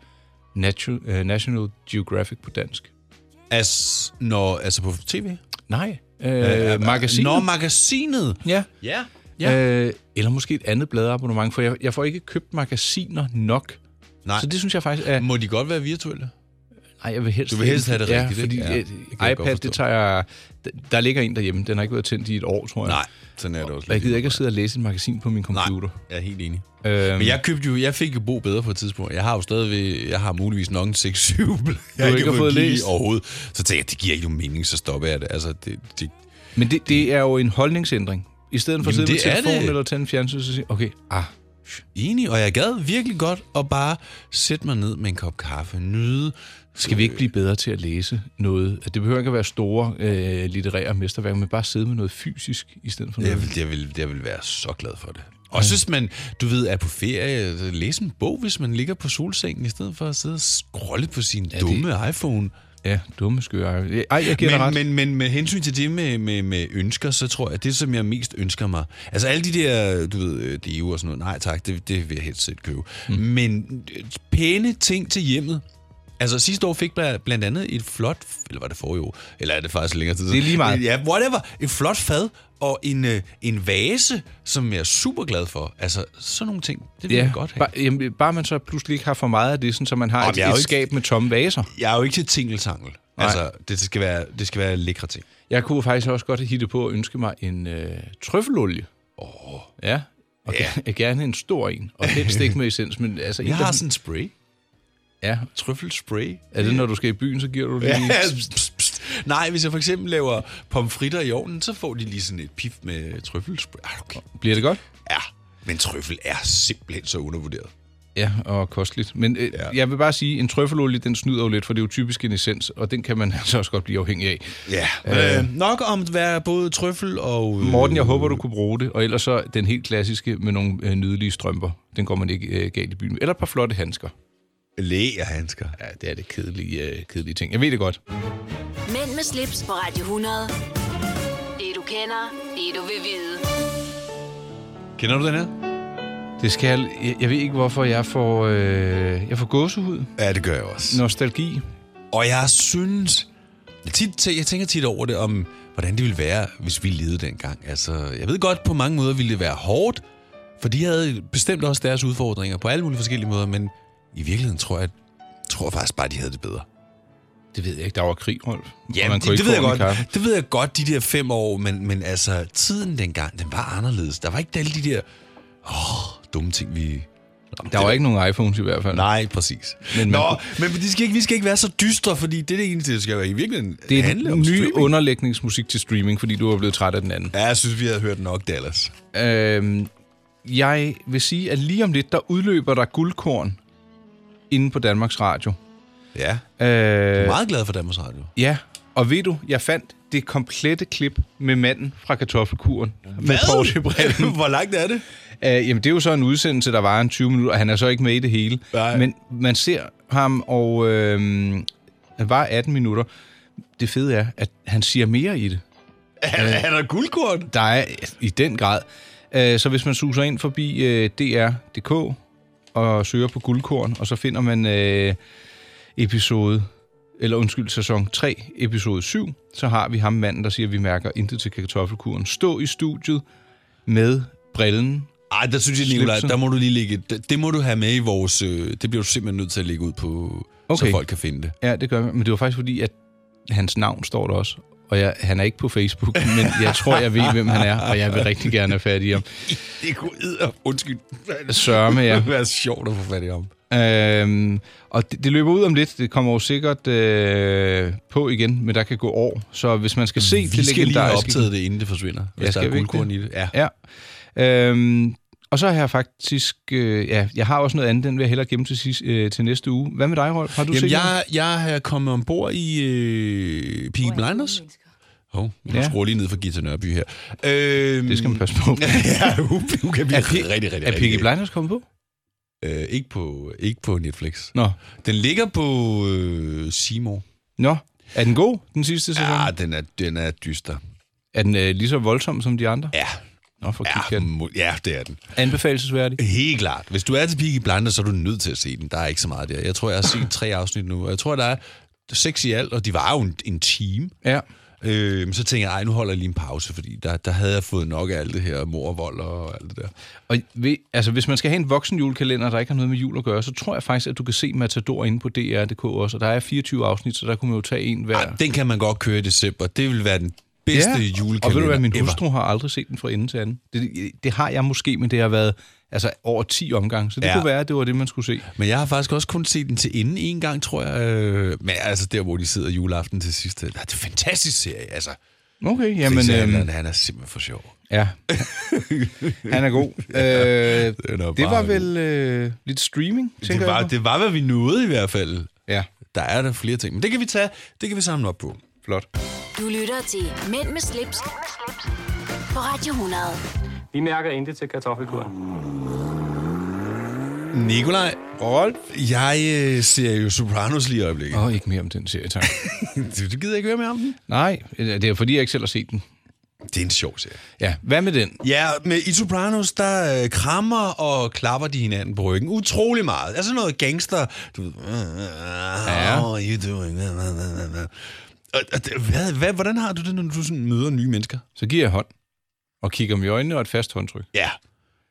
Speaker 3: Natu- øh, National Geographic på dansk.
Speaker 2: Altså, når, altså på tv?
Speaker 3: Nej, øh, øh, magasinet.
Speaker 2: Når magasinet.
Speaker 3: ja.
Speaker 2: Ja.
Speaker 3: Ja. Øh, eller måske et andet bladabonnement, for jeg, jeg får ikke købt magasiner nok.
Speaker 2: Nej.
Speaker 3: Så det synes jeg faktisk er...
Speaker 2: Må de godt være virtuelle?
Speaker 3: Nej, jeg vil helst,
Speaker 2: Du vil helst have det
Speaker 3: ja,
Speaker 2: rigtigt,
Speaker 3: fordi
Speaker 2: ikke? Ja,
Speaker 3: ja,
Speaker 2: det kan jeg godt
Speaker 3: iPad,
Speaker 2: forstå.
Speaker 3: det tager jeg... d- Der ligger en derhjemme. Den har ikke været tændt i et år, tror jeg.
Speaker 2: Nej, sådan er det også.
Speaker 3: Og jeg
Speaker 2: lidt.
Speaker 3: gider ikke at sidde og læse et magasin på min
Speaker 2: Nej,
Speaker 3: computer.
Speaker 2: jeg er helt enig.
Speaker 3: Øhm,
Speaker 2: Men jeg købte jo, jeg fik jo Bo bedre på et tidspunkt. Jeg har jo stadigvæk, jeg har muligvis nok en 6-7, jeg
Speaker 3: ikke har fået
Speaker 2: kigget i
Speaker 3: læst.
Speaker 2: overhovedet. Så tænkte jeg, det giver ikke nogen mening, så stopper jeg det. Altså, det, det
Speaker 3: men det, det er jo en holdningsændring. I stedet for at
Speaker 2: Jamen,
Speaker 3: sidde med
Speaker 2: det er
Speaker 3: telefonen
Speaker 2: det.
Speaker 3: eller tænde en fjernsyn, så siger jeg, okay, ah,
Speaker 2: enig, og jeg gad virkelig godt at bare sætte mig ned med en kop kaffe, nyde.
Speaker 3: skal vi ikke blive bedre til at læse noget? Det behøver ikke at være store øh, litterære mesterværker, men bare sidde med noget fysisk i stedet for noget.
Speaker 2: Jeg vil, jeg, vil, jeg vil være så glad for det. Og hvis man, du ved, er på ferie, så læs en bog, hvis man ligger på solsengen, i stedet for at sidde og scrolle på sin ja, dumme det... iPhone.
Speaker 3: Ja, dumme skøre. Ej, jeg giver dig
Speaker 2: Men,
Speaker 3: ret.
Speaker 2: men, men med hensyn til det med, med, med ønsker, så tror jeg, at det, som jeg mest ønsker mig... Altså alle de der, du ved, øh, deo og sådan noget, nej tak, det, det vil jeg helst selv købe. Mm. Men øh, pæne ting til hjemmet. Altså sidste år fik jeg blandt andet et flot... Eller var det forrige år? Eller er det faktisk længere tid? siden?
Speaker 3: Det er lige meget.
Speaker 2: Ja, whatever. Et flot fad og en, øh, en vase, som jeg er super glad for. Altså sådan nogle ting, det vil ja, jeg godt have.
Speaker 3: bare, jamen, bare man så pludselig ikke har for meget af det, sådan, så man har
Speaker 2: Jamen,
Speaker 3: et,
Speaker 2: jeg er jo
Speaker 3: et
Speaker 2: ikke-
Speaker 3: skab med tomme vaser.
Speaker 2: Jeg er jo ikke til tingeltangel.
Speaker 3: Nej.
Speaker 2: Altså, det skal, være, det skal være lækre ting.
Speaker 3: Jeg kunne faktisk også godt hitte på at ønske mig en øh, trøffelolie. Åh. Oh. Ja, og ja. gerne en stor en. Og helst ikke med essens, men altså... en,
Speaker 2: Jeg
Speaker 3: der-
Speaker 2: har sådan en spray.
Speaker 3: Ja,
Speaker 2: Trøffelspray.
Speaker 3: er det, når du skal i byen, så giver du lige...
Speaker 2: Ja, pst, pst, pst. Nej, hvis jeg for eksempel laver pomfritter i ovnen, så får de lige sådan et pif med trøffelspray. Ah, okay.
Speaker 3: Bliver det godt?
Speaker 2: Ja, men trøffel er simpelthen så undervurderet.
Speaker 3: Ja, og kosteligt. Men øh, ja. jeg vil bare sige, en trøffelolie, den snyder jo lidt, for det er jo typisk en essens, og den kan man altså også godt blive afhængig af.
Speaker 2: Ja, øh, øh, nok om at være både trøffel og... øh,
Speaker 3: Morten, jeg håber, du kunne bruge det. Og ellers så den helt klassiske med nogle øh, nydelige strømper. Den går man ikke øh, galt i byen med. Eller et par flotte handsker.
Speaker 2: øh, Læ og handsker.
Speaker 3: Ja, det er det kedelige, øh, kedelige ting. Jeg ved det godt.
Speaker 1: Mænd med slips på Radio 100. Det du kender, det du vil vide.
Speaker 2: Kender du den her?
Speaker 3: Det skal jeg, jeg, jeg ved ikke, hvorfor jeg får, øh, jeg får gåsehud.
Speaker 2: Ja, det gør jeg også.
Speaker 3: Nostalgi.
Speaker 2: Og jeg synes... Jeg, tit, jeg tænker tit over det, om hvordan det ville være, hvis vi levede dengang. Altså, jeg ved godt, på mange måder ville det være hårdt, for de havde bestemt også deres udfordringer på alle mulige forskellige måder, men i virkeligheden tror jeg, tror jeg faktisk bare, de havde det bedre.
Speaker 3: Det ved jeg ikke. Der var krig, Rolf.
Speaker 2: Ja,
Speaker 3: Og man
Speaker 2: det,
Speaker 3: kunne ikke
Speaker 2: det, ved jeg
Speaker 3: få
Speaker 2: godt,
Speaker 3: ordentlig kaffe.
Speaker 2: det ved jeg godt, de der fem år, men, men altså, tiden dengang, den var anderledes. Der var ikke alle de der åh, dumme ting, vi...
Speaker 3: Der var ikke nogen iPhones i hvert fald.
Speaker 2: Nej, præcis. Men,
Speaker 3: Men-
Speaker 2: Nå, men de skal ikke, vi skal ikke være så dystre, fordi det er det eneste, der skal være i virkeligheden
Speaker 3: Det er
Speaker 2: handle
Speaker 3: den
Speaker 2: om
Speaker 3: nye
Speaker 2: streaming.
Speaker 3: underlægningsmusik til streaming, fordi du er blevet træt af den anden.
Speaker 2: Ja, jeg synes, vi havde hørt nok, Dallas.
Speaker 3: Øhm, jeg vil sige, at lige om lidt, der udløber der guldkorn inde på Danmarks Radio.
Speaker 2: Ja. Jeg
Speaker 3: Øh,
Speaker 2: er meget glad for Danmarks Radio.
Speaker 3: Ja, og ved du, jeg fandt det komplette klip med manden fra kartoffelkuren. Med portebrillen.
Speaker 2: Hvor langt er det?
Speaker 3: Øh, jamen, det er jo så en udsendelse, der var en 20 minutter, og han er så ikke med i det hele.
Speaker 2: Nej.
Speaker 3: Men man ser ham, og øh, han var 18 minutter. Det fede er, at han siger mere i det.
Speaker 2: Er, er der guldkorn?
Speaker 3: Der er i den grad. Øh, så hvis man suser ind forbi øh, dr.dk og søger på guldkorn, og så finder man øh, episode eller undskyld, sæson 3, episode 7, så har vi ham manden, der siger, at vi mærker intet til kartoffelkuren. Stå i studiet med brillen
Speaker 2: Ej, der synes jeg, Nicolaj,
Speaker 3: Slipsen.
Speaker 2: der må du lige lægge... Det, det må du have med i vores... Øh, det bliver du simpelthen nødt til at lægge ud på, okay. så
Speaker 3: Okay.
Speaker 2: folk kan finde det.
Speaker 3: Ja, det gør jeg. Men det var faktisk fordi, at hans navn står der også. Og jeg, han er ikke på Facebook, men jeg tror, jeg ved, hvem han er, og jeg vil rigtig gerne have fat i ham.
Speaker 2: Det kunne edder... Undskyld.
Speaker 3: Sørme,
Speaker 2: Det
Speaker 3: ja.
Speaker 2: ville være sjovt at få fat i om.
Speaker 3: Øhm, og det, det løber ud om lidt. Det kommer jo sikkert øh, på igen, men der kan gå år. Så hvis man skal se
Speaker 2: Vi
Speaker 3: det
Speaker 2: skal lige have
Speaker 3: legendariske-
Speaker 2: optaget det, inden det forsvinder. Hvis
Speaker 3: Ja,
Speaker 2: der
Speaker 3: skal
Speaker 2: er
Speaker 3: vi ikke
Speaker 2: guldkorn i det. Ja.
Speaker 3: Ja. Øhm, og så har jeg faktisk... Øh, ja, jeg har også noget andet, den vil jeg hellere gemme til, sidst, øh, til næste uge. Hvad med dig, Rolf? Har du
Speaker 2: Jamen,
Speaker 3: set noget?
Speaker 2: jeg, jeg er kommet ombord i øh, Peaky Blinders. Hov, oh, jeg skruer lige ned for Gita Nørby her. Øhm,
Speaker 3: Det skal man passe på.
Speaker 2: ja, hun, hun kan blive
Speaker 3: Er
Speaker 2: er
Speaker 3: Pi-
Speaker 2: rigtig, rigtig, rigtig.
Speaker 3: er Peaky Blinders kommet på?
Speaker 2: Øh, ikke på? Ikke på Netflix.
Speaker 3: Nå.
Speaker 2: Den ligger på øh, Seymour.
Speaker 3: Nå. Er den god, den sidste sæson?
Speaker 2: Ja, den er, den er dyster.
Speaker 3: Er den øh, lige så voldsom som de andre?
Speaker 2: Ja,
Speaker 3: Nå, for ja.
Speaker 2: ja, mo- ja, det er den.
Speaker 3: Anbefalesværdig.
Speaker 2: Helt klart. Hvis du er til Peaky Blinders, så er du nødt til at se den. Der er ikke så meget der. Jeg tror, jeg har set tre afsnit nu, og jeg tror, der er seks i alt, og de var jo en, en time.
Speaker 3: Ja.
Speaker 2: Øh, men så tænker jeg, ej, nu holder jeg lige en pause, fordi der, der havde jeg fået nok af alt det her mor og vold og alt det der.
Speaker 3: Og ved, altså, hvis man skal have en voksen julekalender, der ikke har noget med jul at gøre, så tror jeg faktisk, at du kan se Matador inde på DR.dk også. Og der er 24 afsnit, så der kunne man jo tage en hver.
Speaker 2: Ej, den kan man godt køre i december. Det vil være den bedste ja. julekalender
Speaker 3: Og ved du hvad, min
Speaker 2: ever.
Speaker 3: hustru har aldrig set den fra ende til anden. Det, det har jeg måske, men det har været altså, over 10 omgange. Så det
Speaker 2: Ja.
Speaker 3: ja. kunne være, at det var det, man skulle se.
Speaker 2: Men jeg har faktisk også kun set den til enden en gang, tror jeg. Øh, Men altså der, hvor de sidder juleaften til sidst. Det er en fantastisk serie, altså.
Speaker 3: Okay,
Speaker 2: Jamen,
Speaker 3: jamen...
Speaker 2: øhm,
Speaker 3: Øhm,
Speaker 2: han er simpelthen for sjov.
Speaker 3: ja. Han er god. Øh,
Speaker 2: Den er
Speaker 3: det
Speaker 2: bare
Speaker 3: var
Speaker 2: god.
Speaker 3: vel øh, lidt streaming, tænker
Speaker 2: Det var,
Speaker 3: jeg. på.
Speaker 2: det var, hvad vi nåede i hvert fald.
Speaker 3: Ja,
Speaker 2: Der er der flere ting, men det kan vi tage, det kan vi samle op på.
Speaker 3: flot.
Speaker 1: Du lytter til Mænd med slips, på Radio 100.
Speaker 4: Vi mærker intet til kartoffelkuren.
Speaker 2: Nikolaj,
Speaker 3: Rolf.
Speaker 2: jeg øh, ser jo Sopranos lige i øjeblikket.
Speaker 3: Åh, oh, ikke mere om den serie, tak.
Speaker 2: Du gider ikke høre mere om den?
Speaker 3: Nej, øh, det er fordi, jeg ikke selv har set den.
Speaker 2: Det er en sjov serie.
Speaker 3: Ja, hvad med den?
Speaker 2: Ja, med i Sopranos, der øh, krammer og klapper de hinanden på ryggen utrolig meget. Altså noget gangster. Du ved,
Speaker 3: Ja.
Speaker 2: how are you doing? Og, og det, hvad, hvad, hvordan har du det, når du sådan møder nye mennesker?
Speaker 3: Så giver jeg hånd, og kigger om i øjnene og et fast håndtryk.
Speaker 2: Ja.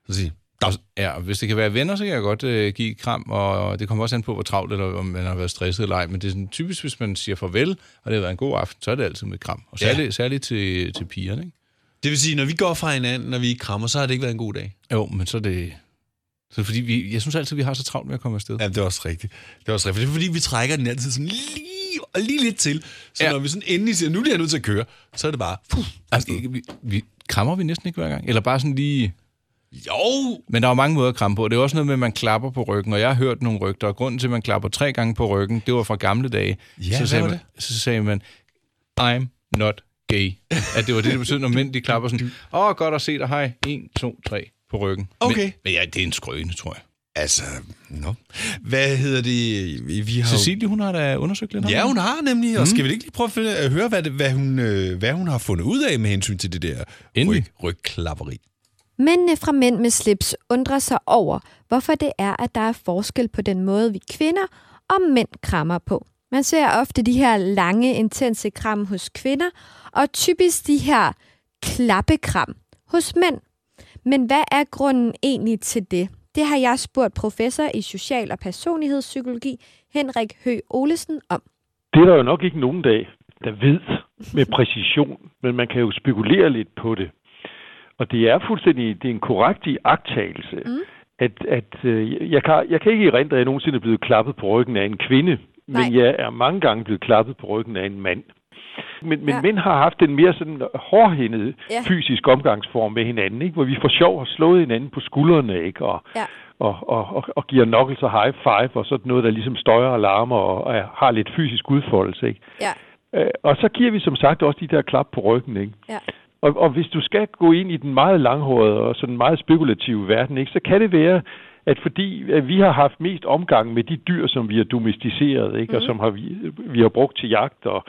Speaker 2: Så siger, "Dag."
Speaker 3: Ja, og hvis det kan være venner, så kan jeg godt øh, give et kram, og det kommer også an på, hvor travlt eller om man har været stresset eller ej. Men det er sådan, typisk, hvis man siger farvel, og det har været en god aften, så er det altid med et kram. Og
Speaker 2: Ja.
Speaker 3: særligt, ja. særligt til, til pigerne, ikke?
Speaker 2: det vil sige, når vi går fra hinanden, når vi ikke krammer, så har det ikke været en god dag.
Speaker 3: Jo, men så er det... Så er det fordi, vi, jeg synes altid, vi har så travlt med at komme afsted.
Speaker 2: Ja, det er også rigtigt. Det er også rigtigt. Det er fordi, vi trækker den altid sådan lige, og lige lidt til. Så ja.
Speaker 3: Ja.
Speaker 2: når vi sådan endelig siger, nu bliver jeg nødt til at køre, så er det bare... Puh,
Speaker 3: Altså, ikke- vi, vi, krammer vi næsten ikke hver gang? Eller bare sådan lige...
Speaker 2: jo!
Speaker 3: Men der er jo mange måder at kramme på. Det er også noget med, at man klapper på ryggen, og jeg har hørt nogle rygter, og grunden til, at man klapper tre gange på ryggen, det var fra gamle dage.
Speaker 2: Ja, hvad
Speaker 3: så, sagde
Speaker 2: var
Speaker 3: man, så sagde man, I'm not gay. At det var det, det betød, når mænd de klapper sådan, åh, oh, godt at se dig, hej, 1, 2, 3 på ryggen.
Speaker 2: Okay.
Speaker 3: Men, men ja, det er en skrøne, tror jeg.
Speaker 2: Altså, nå. Hvad hedder det? Vi- Vi har jo-
Speaker 3: Cecilie, hun har da undersøgt lidt. om
Speaker 2: Ja,
Speaker 3: det.
Speaker 2: hun har nemlig,
Speaker 3: Mm.
Speaker 2: og skal vi ikke lige prøve at, finde, at høre, hvad, det, hvad, hun, øh, hvad hun har fundet ud af med hensyn til det der ryg,
Speaker 3: Endelig.
Speaker 2: rygklapperi?
Speaker 10: Mændene fra Mænd med slips undrer sig over, hvorfor det er, at der er forskel på den måde, vi kvinder og mænd krammer på. Man ser ofte de her lange, intense kram hos kvinder, og typisk de her klappekram hos mænd. Men hvad er grunden egentlig til det? Det har jeg spurgt professor i social- og personlighedspsykologi Henrik Hø Olesen om.
Speaker 11: Det er der jo nok ikke nogen dag, der ved med præcision, men man kan jo spekulere lidt på det. Og det er fuldstændig det er en korrekt iagttagelse, mm. at, at øh, jeg, kan, jeg kan ikke erindre, at jeg nogensinde er blevet klappet på ryggen af en kvinde, Nej. men
Speaker 10: Nej.
Speaker 11: jeg er mange gange blevet klappet på ryggen af en mand. Men, men
Speaker 10: Ja.
Speaker 11: ja. mænd har haft en mere sådan hårdhændet
Speaker 10: Ja.
Speaker 11: ja. fysisk omgangsform med hinanden, ikke? hvor vi for sjov har slået hinanden på skuldrene, ikke? Og,
Speaker 10: Ja.
Speaker 11: og, og, og, og giver knuckles og high five og sådan noget, der ligesom støjer og larmer og, og har lidt fysisk udfoldelse. Ikke?
Speaker 10: Ja,
Speaker 11: Øh, Og så giver vi som sagt også de der klap på ryggen. Ikke?
Speaker 10: ja,
Speaker 11: Og, og hvis du skal gå ind i den meget langhårede og sådan meget spekulative verden, ikke, så kan det være, at fordi at vi har haft mest omgang med de dyr, som vi har domesticeret, ikke, mm. og som har vi, vi har brugt til jagt og,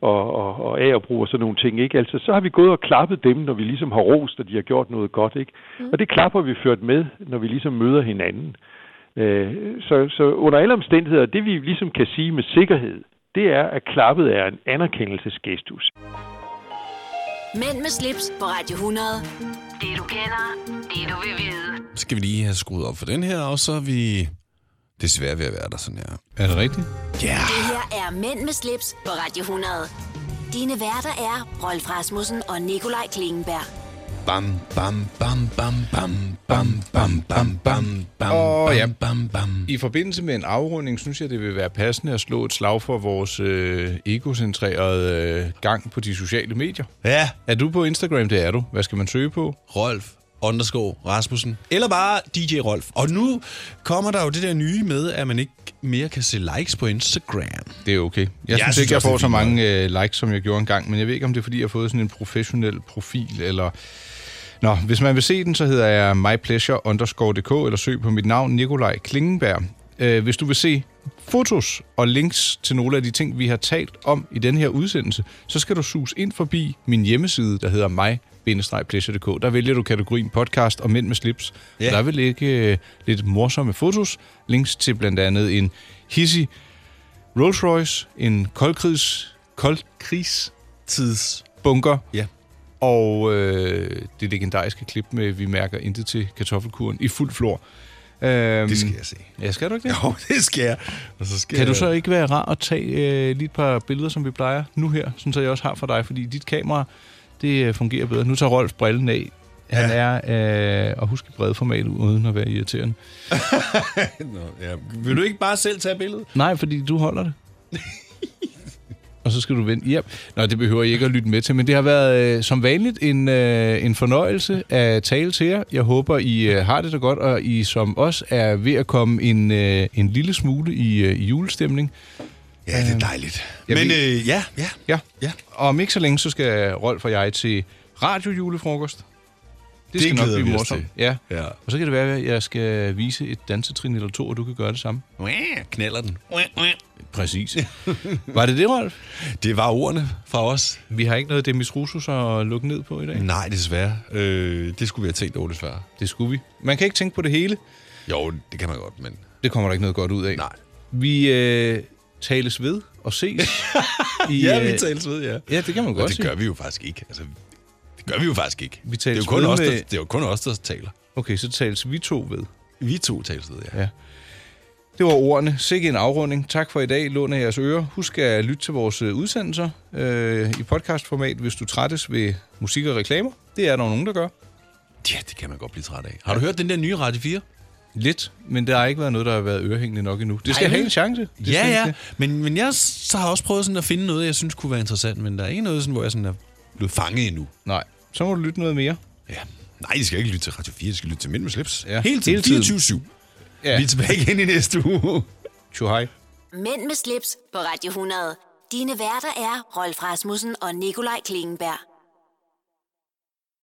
Speaker 11: og, og, og agerbrug og sådan nogle ting, ikke? Altså, så har vi gået og klappet dem, når vi ligesom har rost, og de har gjort noget godt. Ikke? Mm. Og det klapper vi ført med, når vi ligesom møder hinanden. Øh, så, så under alle omstændigheder, det vi ligesom kan sige med sikkerhed, det er, at klappet er en anerkendelsesgestus.
Speaker 1: Mænd med slips på Radio 100. Det du kender, det du vil vide.
Speaker 2: Så skal vi lige have skruet op for den her, og så er vi desværre ved at være der sådan her.
Speaker 3: Er det rigtigt?
Speaker 1: Det her er Mænd med slips på Radio 100. Dine værter er Rolf Rasmussen og Nikolaj Klingenberg.
Speaker 2: Bam, bam, bam, bam, bam, bam, bam, bam, bam, bam,
Speaker 3: Åh, ja.
Speaker 2: bam, bam, bam.
Speaker 3: I forbindelse med en afrunding, synes jeg, det vil være passende at slå et slag for vores øh, egocentrerede øh, gang på de sociale medier.
Speaker 2: Ja,
Speaker 3: Er du på Instagram? Det er du. Hvad skal man søge på?
Speaker 2: Rolf underscore Rasmussen. Eller bare DJ Rolf. Og nu kommer der jo det der nye med, at man ikke mere kan se likes på Instagram.
Speaker 3: Det er okay. Jeg, jeg synes ikke, jeg
Speaker 2: også, det
Speaker 3: får
Speaker 2: er
Speaker 3: så
Speaker 2: fint nok.
Speaker 3: mange øh, likes, som jeg gjorde engang, men jeg ved ikke, om det er, fordi jeg har fået sådan en professionel profil, eller... Nå, hvis man vil se den, så hedder jeg mypleasure eller søg på mit navn, Nikolaj Klingenberg. Øh, hvis du vil se fotos og links til nogle af de ting, vi har talt om i den her udsendelse, så skal du sus ind forbi min hjemmeside, der hedder mig pleasuredk Der vælger du kategorien podcast og mænd med slips. Ja. Der vil ligge øh, lidt morsomme fotos, links til blandt andet en hissig Rolls Royce, en koldkrigs, koldkrigstidsbunker,
Speaker 2: ja.
Speaker 3: og øh, det legendariske klip med, vi mærker intet til kartoffelkuren i fuld flor. Øhm,
Speaker 2: Det skal jeg se.
Speaker 3: Ja, skal du ikke det?
Speaker 2: Jo, det skal jeg. Og så skal
Speaker 3: Kan du
Speaker 2: jeg-
Speaker 3: så ikke være rar at tage øh, lige et par billeder, som vi plejer nu her, sådan så jeg også har for dig, fordi dit kamera, det øh, fungerer bedre. Nu tager Rolf brillen af. Han ja. er, øh, og husk i bredformat, uden at være irriterende.
Speaker 2: Nå, ja. Vil du ikke bare selv tage billedet?
Speaker 3: Nej, fordi du holder det. og så skal du vente hjem. Nå, det behøver I ikke at lytte med til, men det har været øh, som vanligt en, øh, en fornøjelse at tale til jer. Jeg håber, I øh, har det så godt, og I som os er ved at komme en, øh, en lille smule i, øh, i julestemning.
Speaker 2: Ja, det er dejligt. Men, øh, ja, ja,
Speaker 3: ja,
Speaker 2: ja.
Speaker 3: Og om ikke så længe, så skal Rolf og jeg til radiojulefrokost. Det,
Speaker 2: Det
Speaker 3: skal nok
Speaker 2: glæder
Speaker 3: blive
Speaker 2: vi os
Speaker 3: morsomt.
Speaker 2: til.
Speaker 3: Ja.
Speaker 2: Ja.
Speaker 3: Og så kan det være, at jeg skal vise et dansetrin eller to, og du kan gøre det samme.
Speaker 2: Knaller den.
Speaker 3: Præcis. Var det det, Rolf?
Speaker 2: Det var ordene fra os.
Speaker 3: Vi har ikke noget Demis Roussos at lukke ned på i dag.
Speaker 2: Nej, desværre. Øh, det skulle vi have tænkt over lidt før.
Speaker 3: Det skulle vi. Man kan ikke tænke på det hele.
Speaker 2: Jo, det kan man godt, men...
Speaker 3: Det kommer der ikke noget godt ud af.
Speaker 2: Nej.
Speaker 3: Vi øh, tales ved og ses. I,
Speaker 2: Ja, vi
Speaker 3: øh,
Speaker 2: tales ved, ja.
Speaker 3: Ja, det kan man
Speaker 2: Og
Speaker 3: godt
Speaker 2: det
Speaker 3: sige.
Speaker 2: gør vi jo faktisk ikke. Altså, det gør vi jo faktisk ikke.
Speaker 3: Vi
Speaker 2: det, er jo
Speaker 3: tales
Speaker 2: kun
Speaker 3: ved
Speaker 2: os, der,
Speaker 3: med-
Speaker 2: det er jo kun os, der taler.
Speaker 3: Okay, så tales vi to ved.
Speaker 2: Vi to tales ved, ja.
Speaker 3: Ja. Det var ordene. Sikke en afrunding. Tak for i dag. Lån af jeres ører. Husk at lytte til vores øh, udsendelser øh, i podcastformat, hvis du trættes ved musik og reklamer. Det er der jo nogen, der gør.
Speaker 2: Ja, det kan man godt blive træt af. Har du hørt den der nye Radio 4?
Speaker 3: Lidt, men der har ikke været noget, der har været ørehængende nok endnu. Det skal
Speaker 2: Nej,
Speaker 3: have
Speaker 2: vel?
Speaker 3: en chance. Det
Speaker 2: ja,
Speaker 3: synes
Speaker 2: ja.
Speaker 3: jeg.
Speaker 2: Men, men jeg så har også prøvet sådan at finde noget, jeg synes kunne være interessant, men der er ikke noget, sådan, hvor jeg sådan er blevet fanget endnu.
Speaker 3: Nej, så må du lytte noget mere.
Speaker 2: Ja. Nej, de skal ikke lytte til Radio 4, de skal lytte til Mænd med slips.
Speaker 3: Ja.
Speaker 2: Hele tiden.
Speaker 3: Hele tiden.
Speaker 2: 24-7.
Speaker 3: Ja.
Speaker 2: Vi er tilbage igen i næste uge.
Speaker 3: Tjo hej.
Speaker 1: Mænd med slips på Radio 100. Dine værter er Rolf Rasmussen og Nikolaj Klingenberg.